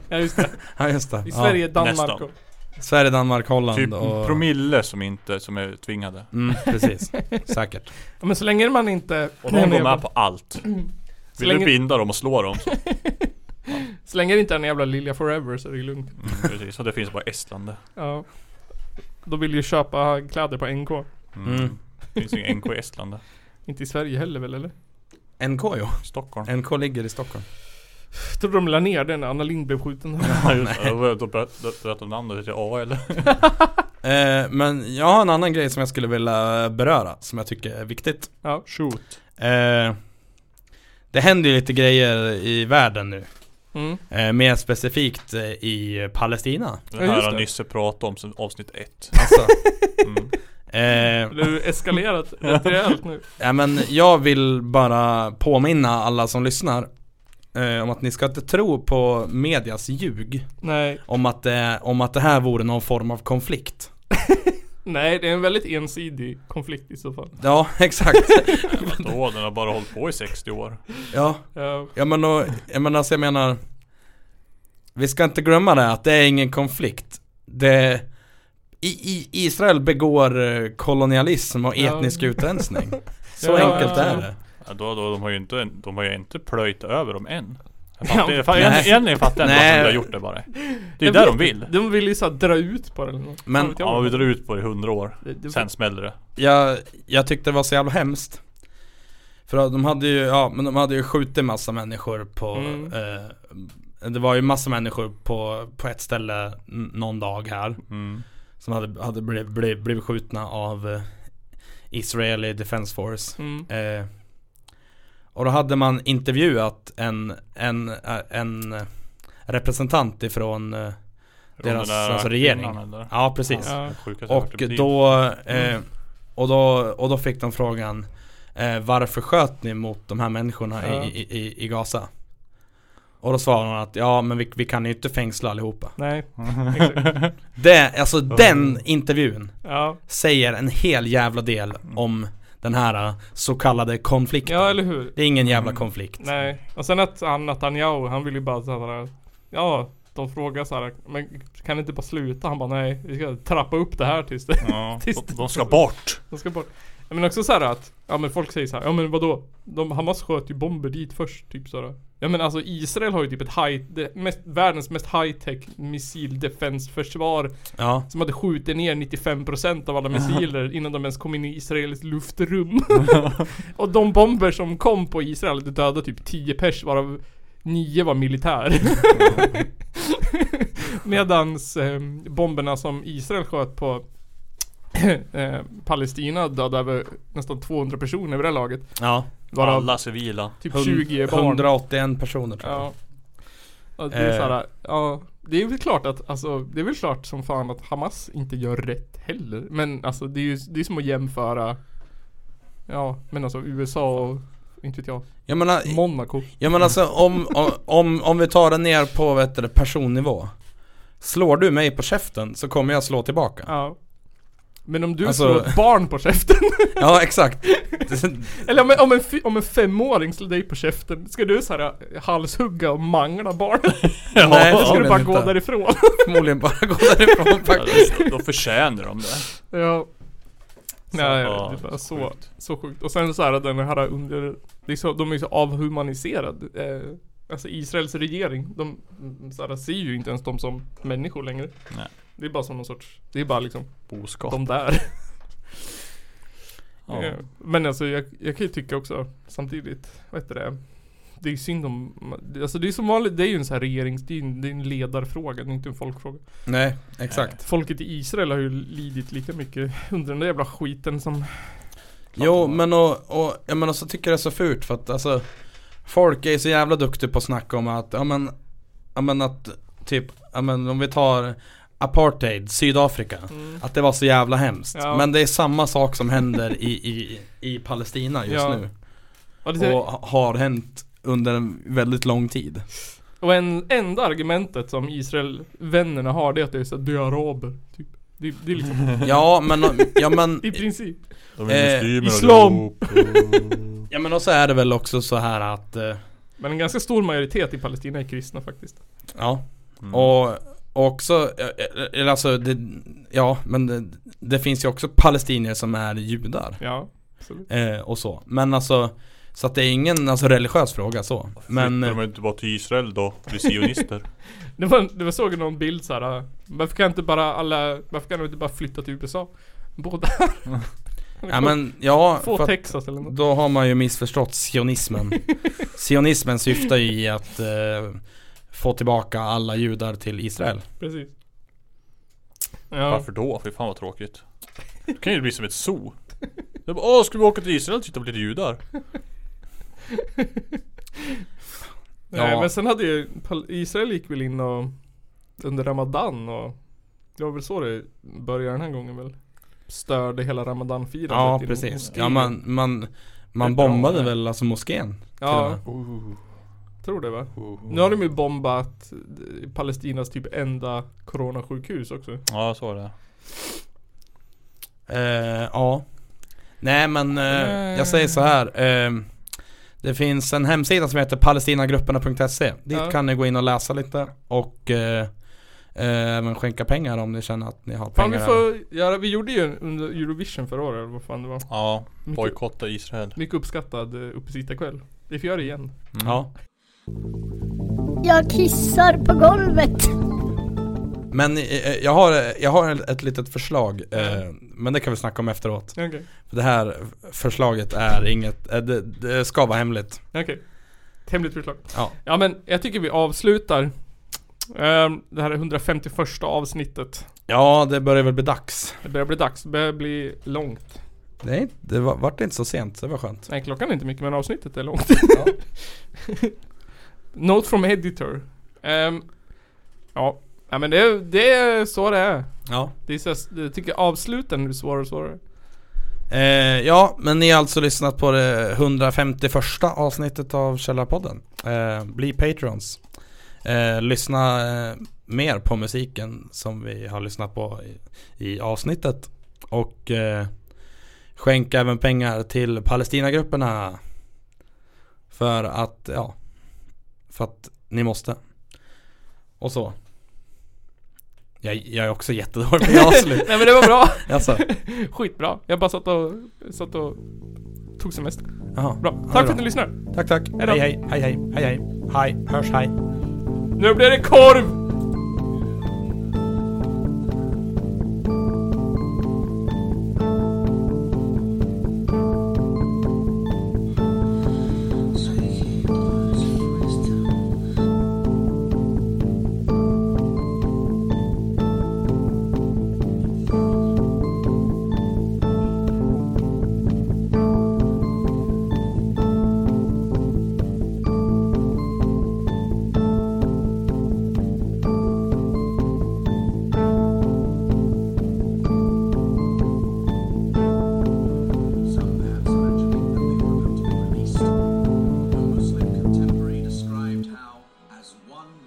Speaker 2: ja just det.
Speaker 4: Ja just det.
Speaker 2: I Sverige,
Speaker 4: ja.
Speaker 2: Danmark
Speaker 3: Nästan.
Speaker 2: och...
Speaker 4: Sverige, Danmark, Holland
Speaker 3: Typ
Speaker 4: och...
Speaker 3: promille som inte, som är tvingade.
Speaker 4: Mm,
Speaker 2: <laughs>
Speaker 4: precis. Säkert.
Speaker 2: Ja, men så länge man inte...
Speaker 3: Och de går med på
Speaker 2: <clears throat>
Speaker 3: allt.
Speaker 2: Så
Speaker 3: Vill
Speaker 2: länge-
Speaker 3: du binda dem och slå dem så.
Speaker 2: Så länge det inte är en jävla Lilja Forever så är det lugnt.
Speaker 3: Mm, precis, och det finns bara i Estland det.
Speaker 2: Ja. Då vill du ju köpa kläder på NK.
Speaker 3: Mm. Det finns ingen NK i Estland det.
Speaker 2: Inte i Sverige heller väl eller?
Speaker 4: NK jo.
Speaker 3: Stockholm.
Speaker 4: NK ligger i Stockholm.
Speaker 2: Tror de la ner den när Anna Lind blev skjuten?
Speaker 3: <laughs>
Speaker 2: <laughs>
Speaker 3: Ja just det, Då- då bröt de namnet till A eller?
Speaker 4: Eh, men jag har en annan grej som jag skulle vilja beröra som jag tycker är viktigt.
Speaker 2: Ja.
Speaker 4: Shoot. Eh, det händer ju lite grejer i världen nu.
Speaker 2: Mm.
Speaker 4: Eh, mer specifikt eh, i Palestina.
Speaker 3: Det här har Nisse pratat om sen avsnitt ett.
Speaker 4: Alltså.
Speaker 3: Mm.
Speaker 4: Eh,
Speaker 2: Det har ju
Speaker 3: <laughs>
Speaker 2: eskalerat rätt rejält nu.
Speaker 4: Ja, men jag vill bara påminna alla som lyssnar eh, om att ni ska inte tro på medias ljug.
Speaker 2: Nej.
Speaker 4: Om att, det- om att det här vore någon form av konflikt.
Speaker 2: Nej, det är en väldigt ensidig konflikt i så fall.
Speaker 4: Ja, <laughs> exakt.
Speaker 3: Vadå, den har bara hållit på i 60 år.
Speaker 4: Ja.
Speaker 2: Ja.
Speaker 4: Ja men och, jag menar, alltså, jag menar Vi ska inte glömma det att det är ingen konflikt Det i, i, Israel begår eh, kolonialism och
Speaker 2: Ja.
Speaker 4: etnisk
Speaker 2: <laughs>
Speaker 4: utrensning Så
Speaker 2: Ja,
Speaker 4: enkelt
Speaker 2: ja,
Speaker 4: är
Speaker 2: ja.
Speaker 4: det
Speaker 3: Ja, då, då, de, har ju inte, de har ju inte plöjt över dem än. Jag
Speaker 2: Ja.
Speaker 3: fattar, jag fattar,
Speaker 2: Nej.
Speaker 3: egentligen fattar jag inte varför de har gjort det bara. Det är ju där
Speaker 2: vet
Speaker 3: de vill.
Speaker 2: inte. De vill ju såhär dra ut på det eller något. Fan
Speaker 4: Men-
Speaker 2: vet jag.
Speaker 3: Ja, vi drar ut på det i 100 år.
Speaker 2: Det- det-
Speaker 3: Sen smäller det.
Speaker 4: jag, jag tyckte det var så jävla hemskt För att de hade ju, ja men de hade ju skjutit massa människor på
Speaker 2: Mm.
Speaker 4: eh, Det var ju massa människor på, på ett ställe n- någon dag här
Speaker 3: Mm.
Speaker 4: Som hade, hade blivit, blivit, blivit skjutna av eh, Israeli Defense Force
Speaker 2: Mm.
Speaker 4: eh, Och då hade man intervjuat en, en, eh, en representant ifrån eh,
Speaker 3: Från
Speaker 4: deras
Speaker 3: den där
Speaker 4: alltså, regering
Speaker 3: kvinnan, eller?
Speaker 4: Ja precis
Speaker 3: Ja. Det sjukaste jag
Speaker 4: Och
Speaker 2: typ
Speaker 3: hört i mitt
Speaker 4: då,
Speaker 3: liv.
Speaker 2: Mm.
Speaker 4: eh, och då Och då fick de frågan eh, Varför sköt ni mot de här människorna
Speaker 2: Ja.
Speaker 4: i, i, i, i Gaza? Och då svarade hon att ja men vi, vi kan ju inte fängsla allihopa
Speaker 2: Nej. Exakt.
Speaker 4: det, alltså den intervjun
Speaker 2: Ja.
Speaker 4: säger en hel jävla del om den här eh, så kallade konflikten.
Speaker 2: Ja, eller hur?
Speaker 4: Det är ingen jävla konflikt.
Speaker 2: Nej. Och sen att han Netanyahu, han vill ju bara såhär. Ja, de frågar såhär. Men kan det inte bara sluta? Han bara nej. Vi ska trappa upp det här tills det.
Speaker 3: Ja, de- de ska bort.
Speaker 2: De ska bort. Ja, Men också såhär att. Ja men folk säger såhär. Ja men vadå? De, Hamas sköt ju bomber dit först. Typ såhär. Ja men alltså Israel har ju typ ett high, det mest, världens mest high-tech missildefensförsvar
Speaker 4: Ja.
Speaker 2: Som hade skjutit ner 95% av alla missiler innan de ens kom in i Israels luftrum. <laughs> och de bomber som kom på Israel det dödade typ 10 pers varav 9 var militär. Medans eh, bomberna som Israel sköt på <clears throat> eh, Palestina dödade över nästan 200 personer vid det här laget.
Speaker 4: Ja.
Speaker 2: Varav
Speaker 3: Alla civila.
Speaker 2: Typ
Speaker 4: Hund-
Speaker 2: 20 barn.
Speaker 4: 181 personer tror jag.
Speaker 2: Ja. Ja, det är
Speaker 4: Eh.
Speaker 2: såhär, ja. Det är väl klart att, alltså, det är väl klart som fan att Hamas inte gör rätt heller. Men alltså det är ju, det är som att jämföra Ja, men alltså USA och Inte vet jag.
Speaker 4: Jag menar,
Speaker 2: Monaco.
Speaker 4: Ja men alltså om, om, om, om vi tar det ner på vad heter det, personnivå. Slår du mig på käften så kommer jag slå tillbaka.
Speaker 2: Ja. Men om du
Speaker 4: Alltså-
Speaker 2: slår ett barn på käften. <laughs>
Speaker 4: Ja exakt.
Speaker 2: Eller om, en- om, en, fy- om en femåring slår dig på käften. Ska du så här eh, halshugga och mangla barnet?
Speaker 4: Nej,
Speaker 2: Då ska
Speaker 4: förmodligen
Speaker 2: du bara gå
Speaker 4: inte.
Speaker 2: därifrån.
Speaker 4: Förmodligen bara gå därifrån faktiskt.
Speaker 3: Ja, då, då förtjänar de det.
Speaker 2: Ja. Nej,
Speaker 3: ja,
Speaker 2: det var så, så sjukt. Och sen så här den här under... Det är så, de är ju så avhumaniserade. Eh, alltså Israels regering, de mm, så här, ser ju inte ens dem som människor längre.
Speaker 3: Nej.
Speaker 2: Det är bara som någon sorts... Det är bara liksom...
Speaker 3: Boskap.
Speaker 2: De där.
Speaker 3: Ja.
Speaker 2: Eh, Men alltså jag, jag kan ju tycka också samtidigt, vad heter det? Det är ju synd om, alltså det är som vanligt, det är ju en sån här regerings, det är ju en, det är en ledarfråga, det är inte en folkfråga.
Speaker 4: Nej, exakt.
Speaker 2: Folket i Israel har ju lidit lika mycket under den där jävla skiten som
Speaker 4: Jo men och, och jag menar så tycker jag det är så fult för att alltså Folk är så jävla duktiga på att snacka om att, ja men Ja men att typ, ja men om vi tar Apartheid, Sydafrika Att det var så jävla hemskt
Speaker 2: Mm. Ja.
Speaker 4: Men det är samma sak som händer i, i, i Palestina just
Speaker 2: Ja.
Speaker 4: nu
Speaker 2: Ja, det ser-
Speaker 4: Och ha- har hänt under en väldigt lång tid
Speaker 2: Och en, enda argumentet som Israel-vännerna har det är att det är såhär, du är araber. Typ. Det, det är liksom
Speaker 4: Ja men, ja
Speaker 2: <laughs>
Speaker 4: men
Speaker 2: I princip
Speaker 3: De är muslimer
Speaker 4: Islam!
Speaker 3: allihop.
Speaker 4: ja men och så är det väl också så här att eh,
Speaker 2: Men en ganska stor majoritet i Palestina är kristna faktiskt.
Speaker 4: Ja. Och också, eh, eller alltså det, ja men det, det finns ju också palestinier som är judar.
Speaker 2: Ja, absolut.
Speaker 4: Eh, och så. Men alltså, så att det är ingen alltså, religiös fråga så. Men,
Speaker 3: Flyttar de inte bara till Israel då? Blir <laughs> sionister?
Speaker 2: Det var, det var såg jag någon bild såhär, varför kan inte bara alla, varför kan de inte bara flytta till USA? Båda.
Speaker 4: ja men ja.
Speaker 2: Få
Speaker 4: för att
Speaker 2: Texas eller något.
Speaker 4: Då har man ju missförstått sionismen. sionismen syftar ju i att eh, få tillbaka alla judar till Israel.
Speaker 2: Precis.
Speaker 3: Varför då? Fy fan vad tråkigt. Det kan ju bli som ett zoo. Det är bara, Åh, ska vi åka till Israel och titta på lite judar?
Speaker 2: Nej
Speaker 3: Ja.
Speaker 2: Eh, men sen hade ju, Pal- Israel gick väl in och under Ramadan och det var väl så det började den här gången väl? Störde hela Ramadan-firandet
Speaker 4: Ja
Speaker 2: i någon
Speaker 4: precis.
Speaker 2: moské.
Speaker 4: Ja man, man, man
Speaker 2: Det är bra.
Speaker 4: bombade väl alltså moskén? till och
Speaker 2: Ja.
Speaker 4: med.
Speaker 3: Oh,
Speaker 2: Tror det va? Nu har de ju bombat eh, Palestinas typ enda coronasjukhus också.
Speaker 3: Ja, så var det.
Speaker 4: Eh, ja. Nej men eh,
Speaker 2: Nej.
Speaker 4: jag säger så här. Eh, det finns en hemsida som heter palestinagrupperna.se. Dit
Speaker 2: Ja.
Speaker 4: kan ni gå in och läsa lite och eh, eh, även skänka pengar om ni känner att ni har
Speaker 2: Fan
Speaker 4: pengar
Speaker 2: vi
Speaker 4: över.
Speaker 2: får göra, vi gjorde ju en under Eurovision förra året eller vad fan det var.
Speaker 3: Ja,
Speaker 2: Mycket-
Speaker 3: bojkotta Israel.
Speaker 2: Mycket uppskattad eh, uppesittarkväll. Vi får göra det igen.
Speaker 4: Ja.
Speaker 14: Jag kissar på golvet.
Speaker 4: Men eh, jag har, jag har ett litet förslag. Eh, men det kan vi snacka om efteråt.
Speaker 2: Okej.
Speaker 4: För det här förslaget är inget, eh, det, det ska vara hemligt.
Speaker 2: Okej. Ett Hemligt förslag.
Speaker 4: Ja.
Speaker 2: Ja men jag tycker vi avslutar ehm, det här 151 avsnittet.
Speaker 4: Ja det börjar väl bli dags.
Speaker 2: Det börjar bli dags, det börjar bli långt.
Speaker 4: Nej, det var, vart inte så sent, så det var skönt.
Speaker 2: Nej klockan är inte mycket men avsnittet är långt. <laughs> Note from editor. Ehm, ja. ja men det, är- det är så det är.
Speaker 4: Ja.
Speaker 2: Det är så, jag tycker avsluten blir svårare och svårare.
Speaker 4: Eh, ja, men ni har alltså lyssnat på det 151 avsnittet av Källarpodden. Eh, bli Patrons. Eh, lyssna eh, mer på musiken som vi har lyssnat på i, i avsnittet. Och eh, skänk även pengar till Palestinagrupperna. För att, ja. För att ni måste. Och så. Jag, jag är också jättedålig på avslut.
Speaker 2: Nej men det
Speaker 4: <laughs>
Speaker 2: var bra. <laughs>
Speaker 4: Jaså?
Speaker 2: Skitbra. Jag bara satt och, satt och tog semester.
Speaker 4: Jaha.
Speaker 2: Bra.
Speaker 4: Ja, det är
Speaker 2: Tack för att
Speaker 4: bra.
Speaker 2: ni lyssnar.
Speaker 4: Tack tack.
Speaker 2: Hejdå.
Speaker 4: Hej hej, hej hej, hej hej. Hej, hörs hej.
Speaker 2: Nu blir det korv!